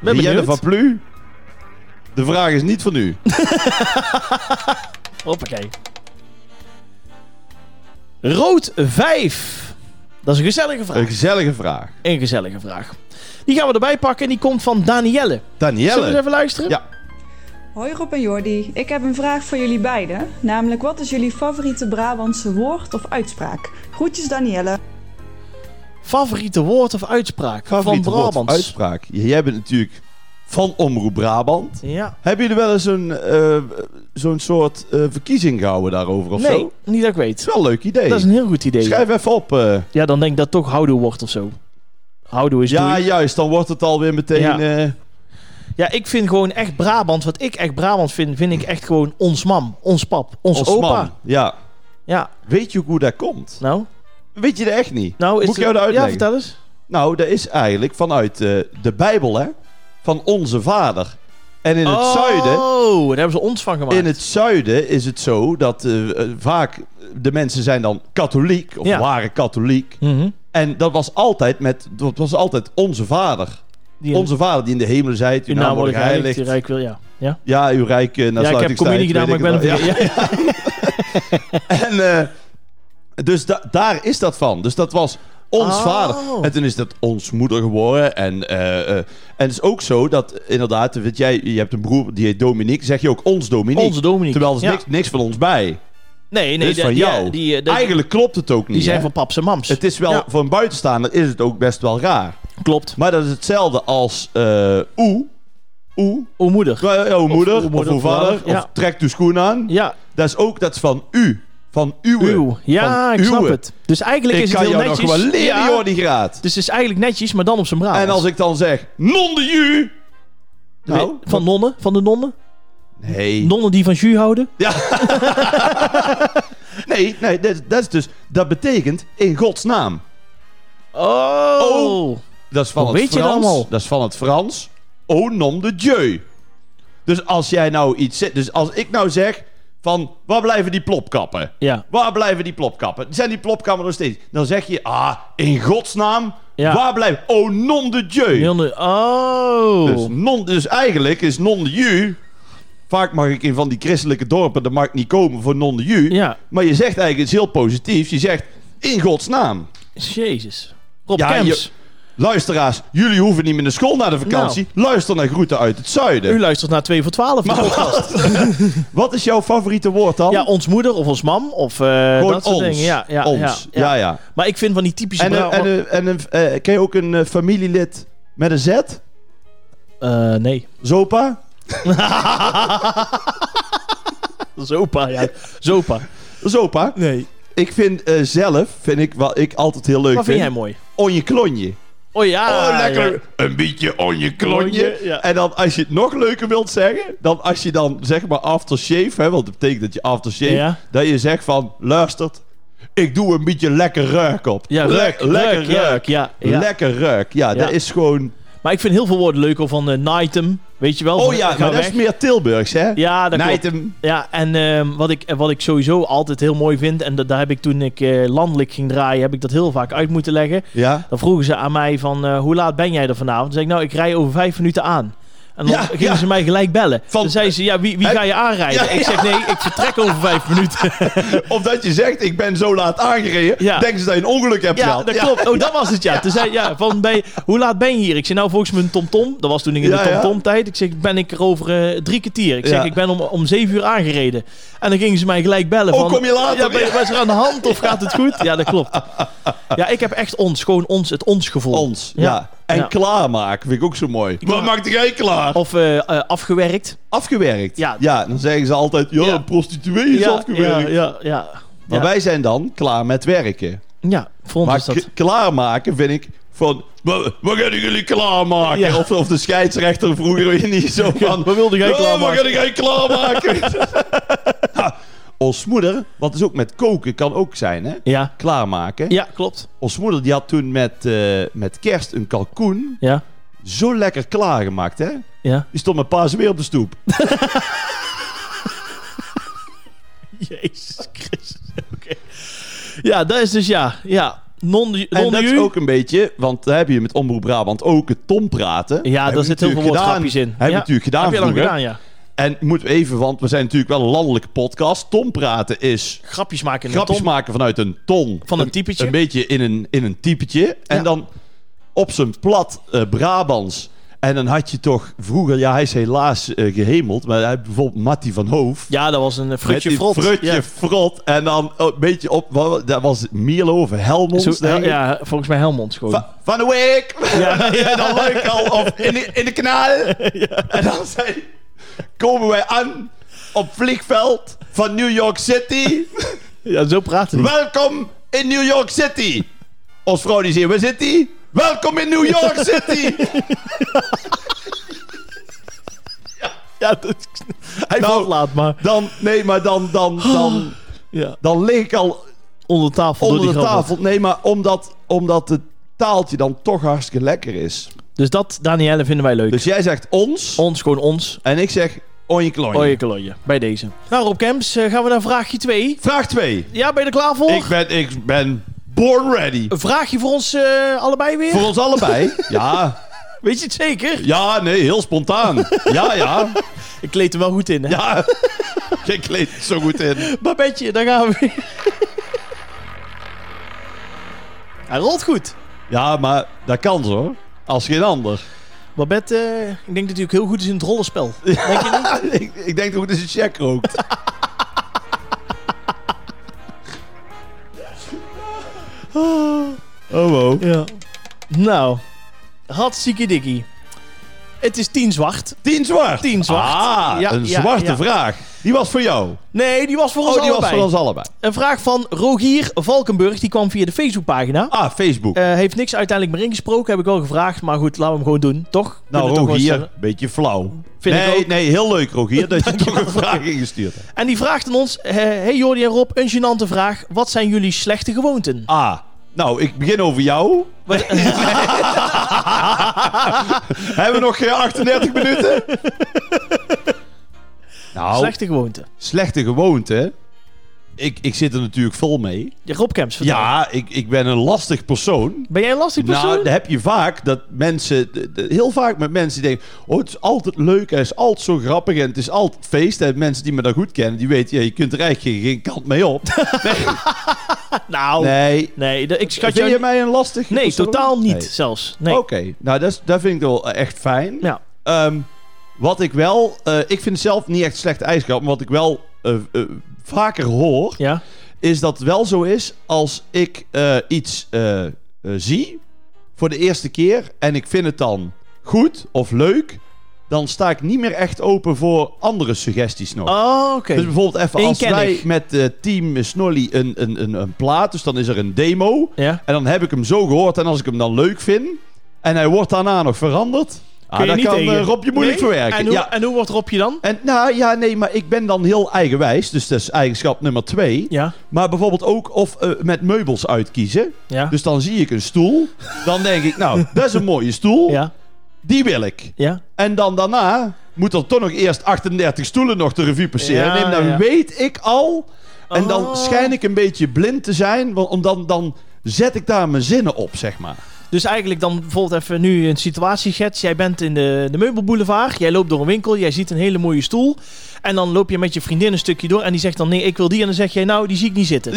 [SPEAKER 1] ben
[SPEAKER 2] Rienne
[SPEAKER 1] benieuwd.
[SPEAKER 2] van Plu. De vraag is niet van u.
[SPEAKER 1] Hoppakee. Rood 5. Dat is een gezellige vraag.
[SPEAKER 2] Een gezellige vraag.
[SPEAKER 1] Een gezellige vraag. Die gaan we erbij pakken en die komt van Danielle. Zullen we eens
[SPEAKER 2] Danielle.
[SPEAKER 1] even luisteren?
[SPEAKER 2] Ja.
[SPEAKER 3] Hoi Rob en Jordi, ik heb een vraag voor jullie beiden. Namelijk, wat is jullie favoriete Brabantse woord of uitspraak? Groetjes Danielle.
[SPEAKER 1] Favoriete woord of uitspraak
[SPEAKER 2] Favoriete
[SPEAKER 1] van
[SPEAKER 2] woord of
[SPEAKER 1] Brabants?
[SPEAKER 2] Uitspraak. Jij bent natuurlijk van Omroep Brabant.
[SPEAKER 1] Ja.
[SPEAKER 2] Hebben jullie wel eens een, eh, zo'n soort eh, verkiezing gehouden daarover of
[SPEAKER 1] nee,
[SPEAKER 2] zo?
[SPEAKER 1] niet dat ik weet.
[SPEAKER 2] is wel een leuk idee.
[SPEAKER 1] Dat is een heel goed idee.
[SPEAKER 2] Schrijf even op. eh.
[SPEAKER 1] Ja, dan denk ik dat het toch houdoe wordt of zo. Houdoe is
[SPEAKER 2] Ja,
[SPEAKER 1] ja, ja.
[SPEAKER 2] juist. Dan wordt het alweer meteen...
[SPEAKER 1] Ja.
[SPEAKER 2] eh,
[SPEAKER 1] ik vind gewoon echt Brabant, wat ik echt Brabant vind, vind ik echt gewoon ons mam, ons pap, ons,
[SPEAKER 2] ons
[SPEAKER 1] opa.
[SPEAKER 2] man. Ja.
[SPEAKER 1] Ja,
[SPEAKER 2] Weet je ook hoe dat komt?
[SPEAKER 1] nou.
[SPEAKER 2] Weet je dat echt niet?
[SPEAKER 1] nou is
[SPEAKER 2] Moet ik
[SPEAKER 1] het-
[SPEAKER 2] jou dat uitleggen?
[SPEAKER 1] Ja, vertel eens.
[SPEAKER 2] Nou, dat is eigenlijk vanuit eh, de Bijbel, hè? Van onze vader. En in het zuiden...
[SPEAKER 1] Oh, daar hebben ze ons van gemaakt.
[SPEAKER 2] In het zuiden is het zo dat eh, eh, vaak de mensen zijn dan katholiek of
[SPEAKER 1] Ja.
[SPEAKER 2] waren katholiek.
[SPEAKER 1] Mhm.
[SPEAKER 2] En dat was altijd met, dat was altijd onze vader.
[SPEAKER 1] Die in-
[SPEAKER 2] Onze vader die in de hemelen zijt, uw
[SPEAKER 1] die
[SPEAKER 2] naam wordt geheiligd.
[SPEAKER 1] die rijk wil, ja. Ja,
[SPEAKER 2] Ja, uw rijk eh, naar
[SPEAKER 1] ja ik heb comedie gedaan, maar ik ben
[SPEAKER 2] een
[SPEAKER 1] hem vergeten. Ja.
[SPEAKER 2] En eh, dus da- daar is dat van. Dus dat was ons
[SPEAKER 1] Oh.
[SPEAKER 2] vader. En toen is dat ons moeder geworden. En, eh, eh, en het is ook zo dat inderdaad, weet jij, je hebt een broer die heet Dominique. Zeg je ook ons Dominique.
[SPEAKER 1] Onze Dominique.
[SPEAKER 2] Terwijl er is
[SPEAKER 1] Ja.
[SPEAKER 2] niks, niks van ons bij.
[SPEAKER 1] Nee, nee.
[SPEAKER 2] Dit is
[SPEAKER 1] dat-
[SPEAKER 2] van
[SPEAKER 1] ja,
[SPEAKER 2] jou.
[SPEAKER 1] die, eh, dat-
[SPEAKER 2] Eigenlijk klopt het ook niet.
[SPEAKER 1] die zijn
[SPEAKER 2] hè?
[SPEAKER 1] van paps en mams.
[SPEAKER 2] Het is wel,
[SPEAKER 1] Ja.
[SPEAKER 2] voor een buitenstaander is het ook best wel raar.
[SPEAKER 1] Klopt.
[SPEAKER 2] Maar dat is hetzelfde als eh oe, oe,
[SPEAKER 1] O moeder.
[SPEAKER 2] eh, jouw moeder, of,
[SPEAKER 1] uw moeder,
[SPEAKER 2] uw vader,
[SPEAKER 1] vader, ja.
[SPEAKER 2] of trek uw schoen aan.
[SPEAKER 1] Ja,
[SPEAKER 2] Dat is ook, dat is van u, van uwe.
[SPEAKER 1] uw. Ja,
[SPEAKER 2] Van
[SPEAKER 1] ik snap
[SPEAKER 2] uwe.
[SPEAKER 1] het. Dus eigenlijk
[SPEAKER 2] Ik
[SPEAKER 1] is het
[SPEAKER 2] kan
[SPEAKER 1] heel
[SPEAKER 2] jou
[SPEAKER 1] netjes.
[SPEAKER 2] nog wel leren,
[SPEAKER 1] Ja. Nou,
[SPEAKER 2] hoor, die graad.
[SPEAKER 1] Dus het is eigenlijk netjes, maar dan op zijn Brabants.
[SPEAKER 2] En als ik dan zeg, non de ju. Nou,
[SPEAKER 1] van nonnen, van de nonnen.
[SPEAKER 2] nee.
[SPEAKER 1] Nonnen die van jus houden.
[SPEAKER 2] Nee, nee, dat, dat is dus, dat betekent in Gods naam.
[SPEAKER 1] Oh.
[SPEAKER 2] Dat is van
[SPEAKER 1] Hoe
[SPEAKER 2] het
[SPEAKER 1] weet je dat
[SPEAKER 2] Frans.
[SPEAKER 1] allemaal?
[SPEAKER 2] is van het Frans. Au nom de Dieu. Dus als jij nou iets zegt. Dus als ik nou zeg. Van waar blijven die plopkappen?
[SPEAKER 1] Ja.
[SPEAKER 2] Waar blijven die plopkappen? Zijn die plopkappen nog steeds? Dan zeg je. Ah, in godsnaam.
[SPEAKER 1] Ja.
[SPEAKER 2] Waar blijven. Au nom de Dieu.
[SPEAKER 1] Heel nu- Oh.
[SPEAKER 2] Dus, non, dus eigenlijk is non de Dieu. Vaak mag ik in van die christelijke dorpen. Dat mag ik niet komen voor non de Dieu.
[SPEAKER 1] Ja.
[SPEAKER 2] Maar je zegt eigenlijk iets heel positiefs. Je zegt. In godsnaam.
[SPEAKER 1] Jezus. Rob
[SPEAKER 2] Dus- Ja,
[SPEAKER 1] Kemps.
[SPEAKER 2] Luisteraars, jullie hoeven niet meer naar school na de vakantie.
[SPEAKER 1] Nou.
[SPEAKER 2] Luister naar groeten uit het zuiden.
[SPEAKER 1] U luistert naar 2 voor 12.
[SPEAKER 2] Maar wat, wat is jouw favoriete woord dan?
[SPEAKER 1] ja, ons moeder of ons mam of eh,
[SPEAKER 2] Gewoon
[SPEAKER 1] dat soort
[SPEAKER 2] ons.
[SPEAKER 1] dingen. Ja, ja,
[SPEAKER 2] ons.
[SPEAKER 1] Ja, ja.
[SPEAKER 2] ja. ja.
[SPEAKER 1] Maar ik vind van die typische...
[SPEAKER 2] En, een-
[SPEAKER 1] Brabant-
[SPEAKER 2] en, een- en, een- eh, ken je ook een eh, familielid met een Z?
[SPEAKER 1] Eh, nee.
[SPEAKER 2] Zopa?
[SPEAKER 1] Zopa, ja. Zopa.
[SPEAKER 2] Zopa.
[SPEAKER 1] Nee.
[SPEAKER 2] Ik vind eh, zelf, vind ik wat ik altijd heel leuk
[SPEAKER 1] Wat vind
[SPEAKER 2] vind,
[SPEAKER 1] jij mooi?
[SPEAKER 2] onje klonje.
[SPEAKER 1] Oh ja.
[SPEAKER 2] oh, lekker.
[SPEAKER 1] ja.
[SPEAKER 2] Een beetje onje klonje.
[SPEAKER 1] Klonje, ja.
[SPEAKER 2] En dan als je het nog leuker wilt zeggen, dan als je dan zeg maar aftershave, hè, want dat betekent dat je aftershave,
[SPEAKER 1] Ja.
[SPEAKER 2] dat je zegt van, luistert, ik doe een beetje lekker reuk op.
[SPEAKER 1] Ja,
[SPEAKER 2] Lek-
[SPEAKER 1] leuk,
[SPEAKER 2] lekker
[SPEAKER 1] leuk, leuk, ja, ja.
[SPEAKER 2] Lekker reuk. Ja,
[SPEAKER 1] Ja.
[SPEAKER 2] dat is gewoon...
[SPEAKER 1] Maar ik vind heel veel woorden leuker van eh Nightem. Weet je wel?
[SPEAKER 2] Oh
[SPEAKER 1] van,
[SPEAKER 2] ja,
[SPEAKER 1] ga
[SPEAKER 2] maar dat
[SPEAKER 1] weg.
[SPEAKER 2] is meer Tilburgs, hè?
[SPEAKER 1] Ja, dat klopt.
[SPEAKER 2] Nijtem.
[SPEAKER 1] Ja, en ehm, wat, ik, eh, wat ik sowieso altijd heel mooi vind, en dat, daar heb ik toen ik eh, landelijk ging draaien, heb ik dat heel vaak uit moeten leggen.
[SPEAKER 2] Ja.
[SPEAKER 1] Dan vroegen ze aan mij van, eh, hoe laat ben jij er vanavond? Dan zei ik, nou, ik rij over vijf minuten aan. En dan
[SPEAKER 2] Ja,
[SPEAKER 1] gingen
[SPEAKER 2] ja.
[SPEAKER 1] ze mij gelijk bellen.
[SPEAKER 2] Van-
[SPEAKER 1] dan zeiden ze, ja, wie, wie
[SPEAKER 2] Hè?
[SPEAKER 1] ga je aanrijden?
[SPEAKER 2] Ja,
[SPEAKER 1] ik zeg, nee, ik vertrek over vijf minuten.
[SPEAKER 2] Omdat je zegt, ik ben zo laat aangereden,
[SPEAKER 1] Ja.
[SPEAKER 2] denken ze dat je een ongeluk hebt
[SPEAKER 1] ja,
[SPEAKER 2] gehad.
[SPEAKER 1] dat klopt. Oh, dat was het, ja. Toen zei ja, van, ben je- hoe laat ben je hier? Ik zei, nou, volgens mijn tomtom. Dat was toen in de
[SPEAKER 2] Ja, ja.
[SPEAKER 1] tomtom-tijd. Ik zeg, ben ik er over eh, drie kwartier? Ik zeg,
[SPEAKER 2] Ja.
[SPEAKER 1] ik ben om, om zeven uur aangereden. En dan gingen ze mij gelijk bellen.
[SPEAKER 2] Oh,
[SPEAKER 1] van,
[SPEAKER 2] kom je later?
[SPEAKER 1] Ja, ben je, was er aan de hand of gaat het goed? Ja, dat klopt. Ja, ik heb echt ons, gewoon ons, het ons gevoel.
[SPEAKER 2] Ons, ja. En
[SPEAKER 1] Ja.
[SPEAKER 2] klaarmaken vind ik ook zo mooi. Wat maakt jij klaar?
[SPEAKER 1] Of eh, eh, afgewerkt.
[SPEAKER 2] afgewerkt.
[SPEAKER 1] Ja.
[SPEAKER 2] dan zeggen ze altijd, ja,
[SPEAKER 1] Ja.
[SPEAKER 2] een prostituee is
[SPEAKER 1] ja, ja,
[SPEAKER 2] afgewerkt.
[SPEAKER 1] ja, ja.
[SPEAKER 2] Maar
[SPEAKER 1] Ja.
[SPEAKER 2] wij zijn dan klaar met werken.
[SPEAKER 1] Ja, voor ons
[SPEAKER 2] Maar
[SPEAKER 1] is dat.
[SPEAKER 2] k- klaarmaken vind ik van, "Wa- wat gaan jullie klaarmaken?
[SPEAKER 1] Ja.
[SPEAKER 2] Of, of de scheidsrechter vroeger weer niet zo van,
[SPEAKER 1] Wat wilde jij
[SPEAKER 2] "Ja,
[SPEAKER 1] klaarmaken?"
[SPEAKER 2] Wat gaan jullie klaarmaken? Ha, Ons moeder, wat is ook met koken, kan ook zijn, hè?
[SPEAKER 1] Ja.
[SPEAKER 2] Klaarmaken.
[SPEAKER 1] ja, klopt.
[SPEAKER 2] Ons moeder die had toen met, eh, met kerst een kalkoen
[SPEAKER 1] Ja,
[SPEAKER 2] zo lekker klaargemaakt, hè?
[SPEAKER 1] ja.
[SPEAKER 2] Die stond met paas weer op de stoep.
[SPEAKER 1] Jezus Christus. Oké. Ja, dat is dus ja. ja. Non,
[SPEAKER 2] En
[SPEAKER 1] non
[SPEAKER 2] dat is
[SPEAKER 1] ju.
[SPEAKER 2] ook een beetje, want daar heb je met Omroep Brabant ook het tompraten.
[SPEAKER 1] Ja, daar
[SPEAKER 2] Hebben
[SPEAKER 1] zit
[SPEAKER 2] we
[SPEAKER 1] heel veel
[SPEAKER 2] natuurlijk
[SPEAKER 1] woordgrapjes in.
[SPEAKER 2] gedaan. Hebben we
[SPEAKER 1] ja.
[SPEAKER 2] natuurlijk gedaan
[SPEAKER 1] Heb je lang
[SPEAKER 2] vroeger.
[SPEAKER 1] gedaan, ja.
[SPEAKER 2] En moeten we even, want we zijn natuurlijk wel een landelijke podcast. Tompraten is
[SPEAKER 1] Grapjes maken in
[SPEAKER 2] grapjes
[SPEAKER 1] een ton.
[SPEAKER 2] maken vanuit een ton.
[SPEAKER 1] Van een typetje.
[SPEAKER 2] Een beetje in een, in een typetje. En
[SPEAKER 1] Ja.
[SPEAKER 2] dan op zijn plat eh, Brabants. En dan had je toch vroeger, ja hij is helaas eh, gehemeld, maar hij heeft bijvoorbeeld Matty van Hoof.
[SPEAKER 1] Ja, dat was een eh, frutje
[SPEAKER 2] Met die
[SPEAKER 1] frot.
[SPEAKER 2] Frutje
[SPEAKER 1] ja.
[SPEAKER 2] frot. En dan oh, een beetje op, wat- dat was Mierlo of Helmond.
[SPEAKER 1] Zo-
[SPEAKER 2] denk ik.
[SPEAKER 1] ja, volgens mij Helmond gewoon.
[SPEAKER 2] Va- van de week.
[SPEAKER 1] Ja.
[SPEAKER 2] En dan leuk al. Of in de, in de kanaal. En dan zei, komen wij aan op vliegveld van New York City.
[SPEAKER 1] ja, zo praten die.
[SPEAKER 2] Welkom in New York City. Ons vrouw die zegt, waar zit die? Welkom in New York City.
[SPEAKER 1] Ja, dat, hij
[SPEAKER 2] Nou.
[SPEAKER 1] valt laat, maar
[SPEAKER 2] Dan, nee, maar dan, dan,
[SPEAKER 1] Oh.
[SPEAKER 2] dan,
[SPEAKER 1] ja.
[SPEAKER 2] dan leek ik al
[SPEAKER 1] onder tafel
[SPEAKER 2] onder
[SPEAKER 1] door
[SPEAKER 2] de
[SPEAKER 1] die grappen.
[SPEAKER 2] tafel. Nee, maar omdat, omdat het taaltje dan toch hartstikke lekker is.
[SPEAKER 1] Dus dat, Danielle, vinden wij leuk.
[SPEAKER 2] Dus jij zegt ons
[SPEAKER 1] ons, gewoon ons.
[SPEAKER 2] en ik zeg onje klonje.
[SPEAKER 1] Oje koloje, bij deze. Nou, Rob Kemps, eh, gaan we naar vraagje 2.
[SPEAKER 2] Vraag 2.
[SPEAKER 1] Ja, ben je er klaar voor?
[SPEAKER 2] Ik ben, ik ben born ready.
[SPEAKER 1] Een vraagje voor ons eh, allebei weer?
[SPEAKER 2] Voor ons allebei? Ja.
[SPEAKER 1] Weet je het zeker?
[SPEAKER 2] Ja, nee, heel spontaan. Ja, ja.
[SPEAKER 1] Ik kleed er wel goed in, hè?
[SPEAKER 2] Ja. Je kleedt het zo goed in.
[SPEAKER 1] Babetje, daar gaan we weer. Hij rolt goed.
[SPEAKER 2] Ja, maar dat kan zo. hoor. Als geen ander.
[SPEAKER 1] Babette, eh, ik denk dat hij ook heel goed is in het rollenspel. Denk je niet?
[SPEAKER 2] ik, ik denk dat het is een check rookt. Oh, wow.
[SPEAKER 1] Ja. Nou, hartstikke dikkie. Het is tien zwart.
[SPEAKER 2] Tien zwart.
[SPEAKER 1] Tien zwart.
[SPEAKER 2] Ah,
[SPEAKER 1] Ja,
[SPEAKER 2] een
[SPEAKER 1] ja,
[SPEAKER 2] zwarte
[SPEAKER 1] ja.
[SPEAKER 2] vraag. Die was voor jou.
[SPEAKER 1] Nee, die was voor ons
[SPEAKER 2] Oh, die was
[SPEAKER 1] allebei.
[SPEAKER 2] voor ons allebei.
[SPEAKER 1] Een vraag van Rogier Valkenburg, die kwam via de Facebookpagina.
[SPEAKER 2] Ah, Facebook.
[SPEAKER 1] Eh heeft niks uiteindelijk meer ingesproken, heb ik wel gevraagd. Maar goed, laten we hem gewoon doen, toch? Kunnen
[SPEAKER 2] nou,
[SPEAKER 1] we toch gewoon
[SPEAKER 2] Rogier,
[SPEAKER 1] stellen.
[SPEAKER 2] beetje flauw.
[SPEAKER 1] Vind ik
[SPEAKER 2] nee,
[SPEAKER 1] ook.
[SPEAKER 2] nee, heel leuk, Rogier, dat je toch
[SPEAKER 1] Dankjewel.
[SPEAKER 2] een vraag ingestuurd hebt.
[SPEAKER 1] En die vraagt aan ons, eh, hey Jordi en Rob, een gênante vraag. Wat zijn jullie slechte gewoonten?
[SPEAKER 2] Ah, nou, ik begin over jou.
[SPEAKER 1] Wat-
[SPEAKER 2] Hebben we nog geen 38 minuten? Nou,
[SPEAKER 1] Slechte gewoonte.
[SPEAKER 2] slechte gewoonte. Ik, ik zit er natuurlijk vol mee.
[SPEAKER 1] Ja, Rob Kemps, vertel.
[SPEAKER 2] Ja, ik, ik ben een lastig persoon.
[SPEAKER 1] Ben jij een lastig persoon?
[SPEAKER 2] Nou, dat heb je vaak dat mensen, de- de- heel vaak met mensen die denken: Oh, het is altijd leuk, hij is altijd zo grappig en het is altijd feest. En mensen die me dan goed kennen, die weten: ja, Je kunt er eigenlijk geen, geen kant mee op. Nee.
[SPEAKER 1] nou, nee,
[SPEAKER 2] Nee.
[SPEAKER 1] d- ik schat
[SPEAKER 2] Vind
[SPEAKER 1] jou
[SPEAKER 2] je
[SPEAKER 1] niet-
[SPEAKER 2] mij een lastig?
[SPEAKER 1] Nee,
[SPEAKER 2] persoon?
[SPEAKER 1] totaal niet
[SPEAKER 2] Nee.
[SPEAKER 1] zelfs. Nee.
[SPEAKER 2] Oké, nou dat, is- dat vind ik wel eh, echt fijn.
[SPEAKER 1] Ja.
[SPEAKER 2] Ehm, wat ik wel, eh, ik vind zelf niet echt slecht ijskrab, maar wat ik wel eh, eh, vaker hoor,
[SPEAKER 1] Ja.
[SPEAKER 2] is dat het wel zo is als ik eh, iets eh, eh, zie voor de eerste keer en ik vind het dan goed of leuk, dan sta ik niet meer echt open voor andere suggesties nog.
[SPEAKER 1] Oh, oké.
[SPEAKER 2] Dus bijvoorbeeld even als wij
[SPEAKER 1] Eenkennig.
[SPEAKER 2] met eh, team Snolly een, een, een, een plaat, dus dan is er een demo.
[SPEAKER 1] Ja.
[SPEAKER 2] En dan heb ik hem zo gehoord en als ik hem dan leuk vind en hij wordt daarna nog veranderd, ah,
[SPEAKER 1] je
[SPEAKER 2] dan
[SPEAKER 1] niet
[SPEAKER 2] kan
[SPEAKER 1] tegen.
[SPEAKER 2] eh, Rob je moeilijk
[SPEAKER 1] Nee?
[SPEAKER 2] verwerken.
[SPEAKER 1] En hoe,
[SPEAKER 2] ja.
[SPEAKER 1] en hoe wordt Rob je dan?
[SPEAKER 2] En nou ja, nee, maar ik ben dan heel eigenwijs, dus dat is eigenschap nummer twee.
[SPEAKER 1] Ja.
[SPEAKER 2] Maar bijvoorbeeld ook of eh, met meubels uitkiezen.
[SPEAKER 1] Ja.
[SPEAKER 2] Dus dan zie ik een stoel, dan denk ik, nou, dat is een mooie stoel,
[SPEAKER 1] ja.
[SPEAKER 2] die wil ik.
[SPEAKER 1] Ja.
[SPEAKER 2] En dan daarna moet er toch nog eerst 38 stoelen nog de revue passeren.
[SPEAKER 1] Ja,
[SPEAKER 2] nee, dan
[SPEAKER 1] ja.
[SPEAKER 2] weet ik al. En
[SPEAKER 1] Oh.
[SPEAKER 2] dan schijn ik een beetje blind te zijn. Want om dan, dan zet ik daar mijn zinnen op, zeg maar.
[SPEAKER 1] Dus eigenlijk dan bijvoorbeeld even nu een situatie schets. Jij bent in de, de meubelboulevard. Jij loopt door een winkel. Jij ziet een hele mooie stoel. En dan loop je met je vriendin een stukje door. En die zegt dan nee, ik wil die. En dan zeg jij nou, die zie ik niet zitten.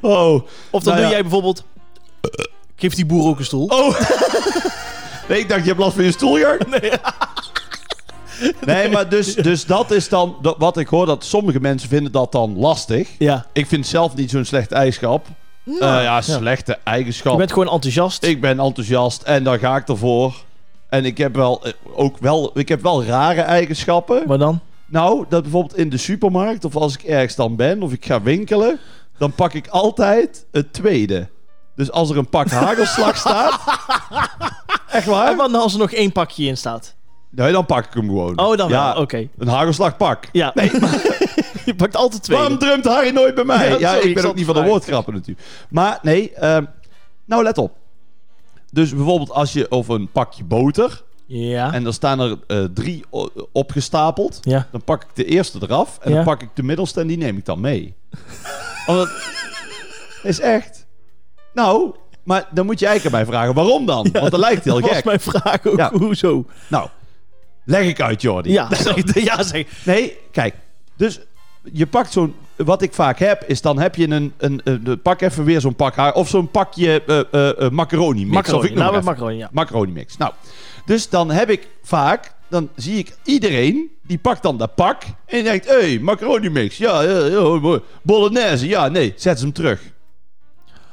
[SPEAKER 2] Oh.
[SPEAKER 1] Of dan
[SPEAKER 2] Nou
[SPEAKER 1] doe
[SPEAKER 2] ja.
[SPEAKER 1] jij bijvoorbeeld... Geef die boer ook een stoel.
[SPEAKER 2] Oh. nee, ik dacht, je hebt last van je stoeljaar. Nee. Nee, maar dus, dus dat is dan dat- wat ik hoor. Dat sommige mensen vinden dat dan lastig.
[SPEAKER 1] Ja.
[SPEAKER 2] Ik vind zelf niet zo'n slecht eigenschap. Eh, ja, slechte eigenschap.
[SPEAKER 1] Je bent gewoon enthousiast.
[SPEAKER 2] Ik ben enthousiast en daar ga ik ervoor. En ik heb wel, eh, ook wel, ik heb wel rare eigenschappen.
[SPEAKER 1] Maar dan?
[SPEAKER 2] Nou, dat bijvoorbeeld in de supermarkt of als ik ergens dan ben of ik ga winkelen, dan pak ik altijd het tweede. Dus als er een pak hagelslag staat, echt waar?
[SPEAKER 1] En wat nou als er nog één pakje in staat?
[SPEAKER 2] Nee, dan pak ik hem gewoon.
[SPEAKER 1] Oh, dan
[SPEAKER 2] ja,
[SPEAKER 1] wel. Oké.
[SPEAKER 2] Een hagelslagpak.
[SPEAKER 1] Ja. je pakt altijd twee.
[SPEAKER 2] Waarom drumt Harry nooit bij mij?
[SPEAKER 1] Ja,
[SPEAKER 2] Ja,
[SPEAKER 1] sorry, ik
[SPEAKER 2] ik ben
[SPEAKER 1] zat
[SPEAKER 2] ook niet van de
[SPEAKER 1] te
[SPEAKER 2] woordgrappen natuurlijk. Maar nee, ehm, nou let op. Dus bijvoorbeeld als je over een pakje boter,
[SPEAKER 1] Ja.
[SPEAKER 2] En dan staan er eh, drie o- opgestapeld.
[SPEAKER 1] Ja.
[SPEAKER 2] Dan pak ik de eerste eraf. En
[SPEAKER 1] Ja.
[SPEAKER 2] dan pak ik de middelste en die neem ik dan mee. Omdat... Is echt. Nou, maar dan moet je eigenlijk aan mij vragen waarom dan. Want dat lijkt heel
[SPEAKER 1] Dat was
[SPEAKER 2] gek.
[SPEAKER 1] mijn vraag ook.
[SPEAKER 2] Ja.
[SPEAKER 1] Hoezo?
[SPEAKER 2] Nou, leg ik uit, Jordi.
[SPEAKER 1] Ja, zeg, ja, zeg.
[SPEAKER 2] Nee, kijk. Dus je pakt zo'n... Wat ik vaak heb, is dan heb je een... een, een- pak even weer zo'n pak haar. Of zo'n pakje eh eh, eh, macaroni mix. Of
[SPEAKER 1] Macaroni.
[SPEAKER 2] ik noem
[SPEAKER 1] Nou,
[SPEAKER 2] maar
[SPEAKER 1] met
[SPEAKER 2] even
[SPEAKER 1] macaroni, ja.
[SPEAKER 2] macaroni mix. Nou, dus dan heb ik vaak, dan zie ik iedereen, die pakt dan dat pak en die denkt, hé, hey, macaroni mix, ja, ja, ja, mooi. bolognese, ja, nee, zet ze hem terug.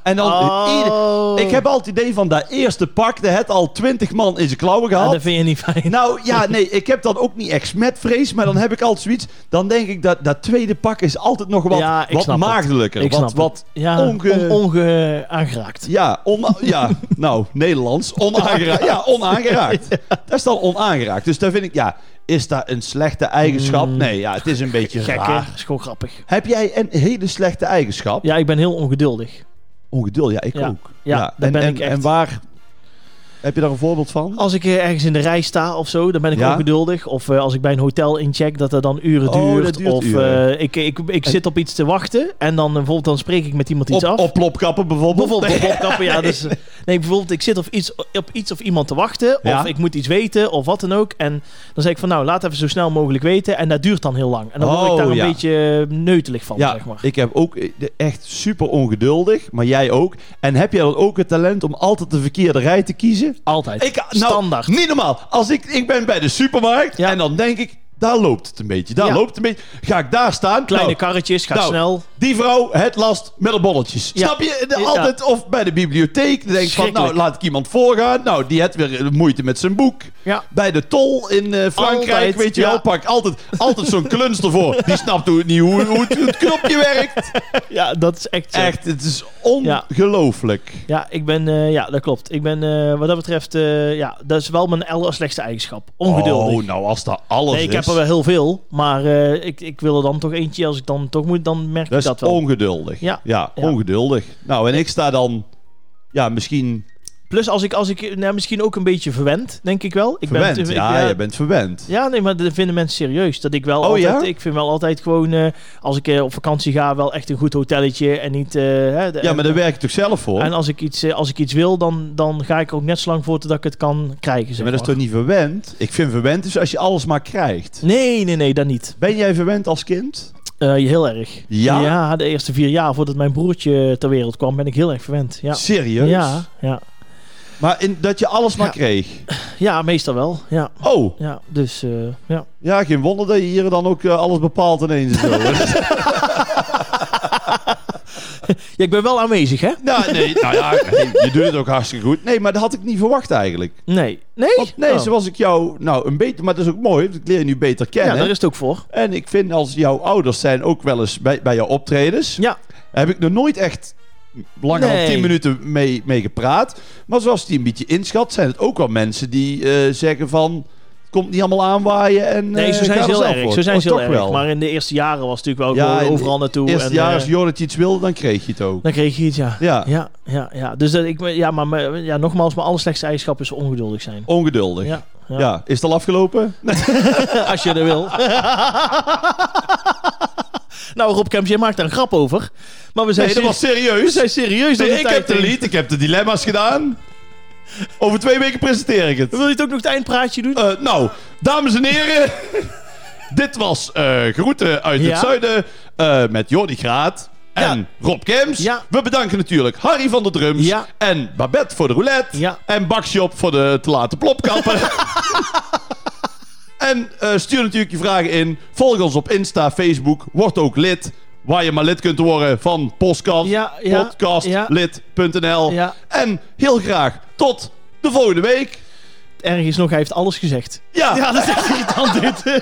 [SPEAKER 2] En dan, eh,
[SPEAKER 1] Oh.
[SPEAKER 2] ieder- ik heb altijd het idee van dat eerste pak, dat het al twintig man in zijn klauwen
[SPEAKER 1] Ah,
[SPEAKER 2] gehad.
[SPEAKER 1] dat vind je niet fijn.
[SPEAKER 2] Nou ja, nee, ik heb dan ook niet echt smetvrees, maar dan heb ik altijd zoiets. Dan denk ik dat dat tweede pak is altijd nog wat,
[SPEAKER 1] Ja, ik
[SPEAKER 2] wat
[SPEAKER 1] snap het.
[SPEAKER 2] maagdelijker.
[SPEAKER 1] ik
[SPEAKER 2] wat,
[SPEAKER 1] snap het.
[SPEAKER 2] wat
[SPEAKER 1] ja,
[SPEAKER 2] onge-
[SPEAKER 1] on- onge- aangeraakt.
[SPEAKER 2] ja, ona- ja, nou, Nederlands. Onaangeraakt. Ja, onaangeraakt. Dat is dan onaangeraakt. Dus daar vind ik, ja, is dat een slechte eigenschap?
[SPEAKER 1] Mm.
[SPEAKER 2] Nee, ja, het is een beetje
[SPEAKER 1] Gek, hè?
[SPEAKER 2] raar.
[SPEAKER 1] Dat is gewoon grappig.
[SPEAKER 2] Heb jij een hele slechte eigenschap?
[SPEAKER 1] Ja, ik ben heel ongeduldig.
[SPEAKER 2] Ongeduld, ja, ik
[SPEAKER 1] Ja.
[SPEAKER 2] ook.
[SPEAKER 1] Ja, daar
[SPEAKER 2] en,
[SPEAKER 1] ben
[SPEAKER 2] en,
[SPEAKER 1] ik echt.
[SPEAKER 2] En waar, heb je daar een voorbeeld van?
[SPEAKER 1] Als ik eh, ergens in de rij sta of zo, dan ben ik
[SPEAKER 2] Ja?
[SPEAKER 1] ongeduldig. Of eh, als ik bij een hotel incheck, dat er dan uren
[SPEAKER 2] Oh, dat
[SPEAKER 1] duurt.
[SPEAKER 2] duurt
[SPEAKER 1] of eh,
[SPEAKER 2] uren.
[SPEAKER 1] ik, ik, ik zit op iets te wachten en dan eh, bijvoorbeeld dan spreek ik met iemand iets
[SPEAKER 2] op,
[SPEAKER 1] af.
[SPEAKER 2] op plopkappen bijvoorbeeld?
[SPEAKER 1] Bijvoorbeeld op opkappen, ja. Dus, eh, nee, bijvoorbeeld ik zit op iets, op iets of iemand te wachten.
[SPEAKER 2] Ja.
[SPEAKER 1] Of ik moet iets weten of wat dan ook. En dan zeg ik van nou, laat even zo snel mogelijk weten. En dat duurt dan heel lang. En dan word ik
[SPEAKER 2] Oh,
[SPEAKER 1] daar een
[SPEAKER 2] ja.
[SPEAKER 1] beetje eh, neutelig van,
[SPEAKER 2] Ja,
[SPEAKER 1] zeg maar.
[SPEAKER 2] ik heb ook eh, de- echt super ongeduldig, maar jij ook. En heb jij dan ook het talent om altijd de verkeerde rij te kiezen?
[SPEAKER 1] Altijd.
[SPEAKER 2] Ik, nou,
[SPEAKER 1] Standaard.
[SPEAKER 2] Niet normaal. Als ik, ik ben bij de supermarkt
[SPEAKER 1] Ja.
[SPEAKER 2] en dan denk ik, daar loopt het een beetje. Daar
[SPEAKER 1] Ja.
[SPEAKER 2] loopt het een beetje. Ga ik daar staan?
[SPEAKER 1] Kleine
[SPEAKER 2] Nou,
[SPEAKER 1] karretjes, gaat
[SPEAKER 2] nou,
[SPEAKER 1] snel.
[SPEAKER 2] Die vrouw, het last met de bolletjes.
[SPEAKER 1] Ja.
[SPEAKER 2] Snap je? De-
[SPEAKER 1] Ja.
[SPEAKER 2] Altijd of bij de bibliotheek. Dan denk ik van, nou
[SPEAKER 1] Schrikkelijk.
[SPEAKER 2] laat ik iemand voorgaan. Nou, die heeft weer eh, moeite met zijn boek.
[SPEAKER 1] Ja.
[SPEAKER 2] Bij de tol in eh, Frankrijk,
[SPEAKER 1] Altijd,
[SPEAKER 2] weet je
[SPEAKER 1] ja.
[SPEAKER 2] wel, pak ik altijd, altijd zo'n kluns ervoor. Die snapt hoe, niet hoe, hoe het, hoe het knopje werkt.
[SPEAKER 1] Ja, dat is echt zo.
[SPEAKER 2] Echt, het is ongelooflijk.
[SPEAKER 1] Ja, ik ben, eh, ja, dat klopt. Ik ben eh, wat dat betreft, eh, ja, dat is wel mijn aller slechtste eigenschap. Ongeduldig.
[SPEAKER 2] Oh, nou als dat alles
[SPEAKER 1] nee, ik heb
[SPEAKER 2] is.
[SPEAKER 1] er wel heel veel, maar eh, ik, ik wil er dan toch eentje. Als ik dan toch moet, dan merk
[SPEAKER 2] Dat
[SPEAKER 1] ik
[SPEAKER 2] is
[SPEAKER 1] dat wel.
[SPEAKER 2] ongeduldig.
[SPEAKER 1] Ja.
[SPEAKER 2] Ja,
[SPEAKER 1] Ja.
[SPEAKER 2] ongeduldig. Nou, en ik sta dan... Ja, misschien
[SPEAKER 1] Plus als ik, als ik nou, misschien ook een beetje verwend, denk ik wel. Ik
[SPEAKER 2] Verwend,
[SPEAKER 1] ik-
[SPEAKER 2] ja, jij bent verwend.
[SPEAKER 1] Ja, nee, maar dat vinden mensen serieus. Dat ik wel
[SPEAKER 2] Oh,
[SPEAKER 1] altijd,
[SPEAKER 2] ja?
[SPEAKER 1] ik vind wel altijd gewoon, eh, als ik eh, op vakantie ga, wel echt een goed hotelletje en niet... eh, hè, de-
[SPEAKER 2] Ja, maar daar werk je toch zelf voor?
[SPEAKER 1] En als ik iets, eh, als ik iets wil, dan, dan ga ik er ook net zo lang voor totdat ik het kan krijgen.
[SPEAKER 2] Ja,
[SPEAKER 1] Zeg
[SPEAKER 2] maar dat is
[SPEAKER 1] maar.
[SPEAKER 2] toch niet verwend? Ik vind verwend is als je alles maar krijgt.
[SPEAKER 1] Nee, nee, nee, dat niet.
[SPEAKER 2] Ben jij verwend als kind?
[SPEAKER 1] Eh, heel erg.
[SPEAKER 2] Ja?
[SPEAKER 1] de eerste vier jaar voordat mijn broertje ter wereld kwam, ben ik heel erg verwend. Ja,
[SPEAKER 2] Serieus?
[SPEAKER 1] ja, ja.
[SPEAKER 2] Maar in, dat je alles maar
[SPEAKER 1] Ja.
[SPEAKER 2] kreeg.
[SPEAKER 1] ja meestal wel. Ja,
[SPEAKER 2] Oh,
[SPEAKER 1] ja dus eh, ja.
[SPEAKER 2] ja, geen wonder dat je hier dan ook eh, alles bepaalt ineens. en Zo.
[SPEAKER 1] ja, ik ben wel aanwezig, hè?
[SPEAKER 2] nou, nee, nou ja, nee, je doet het ook hartstikke goed. Nee, maar dat had ik niet verwacht eigenlijk.
[SPEAKER 1] Nee. Nee?
[SPEAKER 2] Want, nee,
[SPEAKER 1] Oh.
[SPEAKER 2] zoals ik jou, nou, een beter, maar dat is ook mooi, want ik leer je nu beter
[SPEAKER 1] Ja,
[SPEAKER 2] kennen.
[SPEAKER 1] daar is het ook voor.
[SPEAKER 2] En ik vind als jouw ouders zijn ook wel eens bij, bij jouw optredens,
[SPEAKER 1] Ja,
[SPEAKER 2] heb ik nog nooit echt langer
[SPEAKER 1] Nee.
[SPEAKER 2] dan 10 minuten mee, mee gepraat. Maar zoals die een beetje inschat, zijn het ook wel mensen die eh, zeggen van, het komt niet allemaal aanwaaien en
[SPEAKER 1] nee,
[SPEAKER 2] eh,
[SPEAKER 1] zo zijn
[SPEAKER 2] ga
[SPEAKER 1] ze
[SPEAKER 2] er
[SPEAKER 1] heel
[SPEAKER 2] zelf
[SPEAKER 1] erg.
[SPEAKER 2] voor.
[SPEAKER 1] Zo zijn
[SPEAKER 2] Oh,
[SPEAKER 1] ze heel
[SPEAKER 2] toch
[SPEAKER 1] erg.
[SPEAKER 2] wel.
[SPEAKER 1] Maar in de eerste jaren was het natuurlijk wel
[SPEAKER 2] Ja,
[SPEAKER 1] gewoon
[SPEAKER 2] in de
[SPEAKER 1] overal naartoe.
[SPEAKER 2] Eerste
[SPEAKER 1] en,
[SPEAKER 2] jaar
[SPEAKER 1] eh,
[SPEAKER 2] als Jorrit iets wilde, dan kreeg je het ook.
[SPEAKER 1] dan kreeg je iets, ja.
[SPEAKER 2] Ja.
[SPEAKER 1] Ja, ja, ja. Dus dat ik, ja, maar maar- ja, nogmaals, mijn allerslechtste eigenschap is ongeduldig zijn.
[SPEAKER 2] Ongeduldig. Ja.
[SPEAKER 1] Ja,
[SPEAKER 2] is het al afgelopen?
[SPEAKER 1] als je dat wil. nou, Rob Kemps, jij maakt daar een grap over. Maar we zijn,
[SPEAKER 2] Nee, dat
[SPEAKER 1] seri-
[SPEAKER 2] was serieus.
[SPEAKER 1] we zijn serieus.
[SPEAKER 2] Nee,
[SPEAKER 1] door de
[SPEAKER 2] ik
[SPEAKER 1] tijd
[SPEAKER 2] heb de
[SPEAKER 1] heen.
[SPEAKER 2] lied, ik heb de dilemma's gedaan. Over twee weken presenteer ik het.
[SPEAKER 1] Wil je het ook nog het eindpraatje doen?
[SPEAKER 2] Eh, nou, dames en heren. dit was eh Groeten uit
[SPEAKER 1] Ja.
[SPEAKER 2] het Zuiden eh, met Jordi Graat en
[SPEAKER 1] Ja.
[SPEAKER 2] Rob Kems.
[SPEAKER 1] Ja.
[SPEAKER 2] We bedanken natuurlijk Harry van de Drums
[SPEAKER 1] Ja.
[SPEAKER 2] en Babette voor de roulette.
[SPEAKER 1] Ja.
[SPEAKER 2] En Bakshop voor de te late plopkappen. en eh, stuur natuurlijk je vragen in. Volg ons op Insta, Facebook. Word ook lid. Waar je maar lid kunt worden van podcast,
[SPEAKER 1] Ja, ja, ja.
[SPEAKER 2] podcastlid.nl.
[SPEAKER 1] Ja.
[SPEAKER 2] En heel graag tot de volgende week.
[SPEAKER 1] Ergens nog, hij heeft alles gezegd. Ja, dat is echt irritant dit.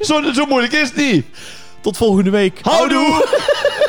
[SPEAKER 2] Zo, zo moeilijk is het niet.
[SPEAKER 1] Tot volgende week.
[SPEAKER 2] Houdoe!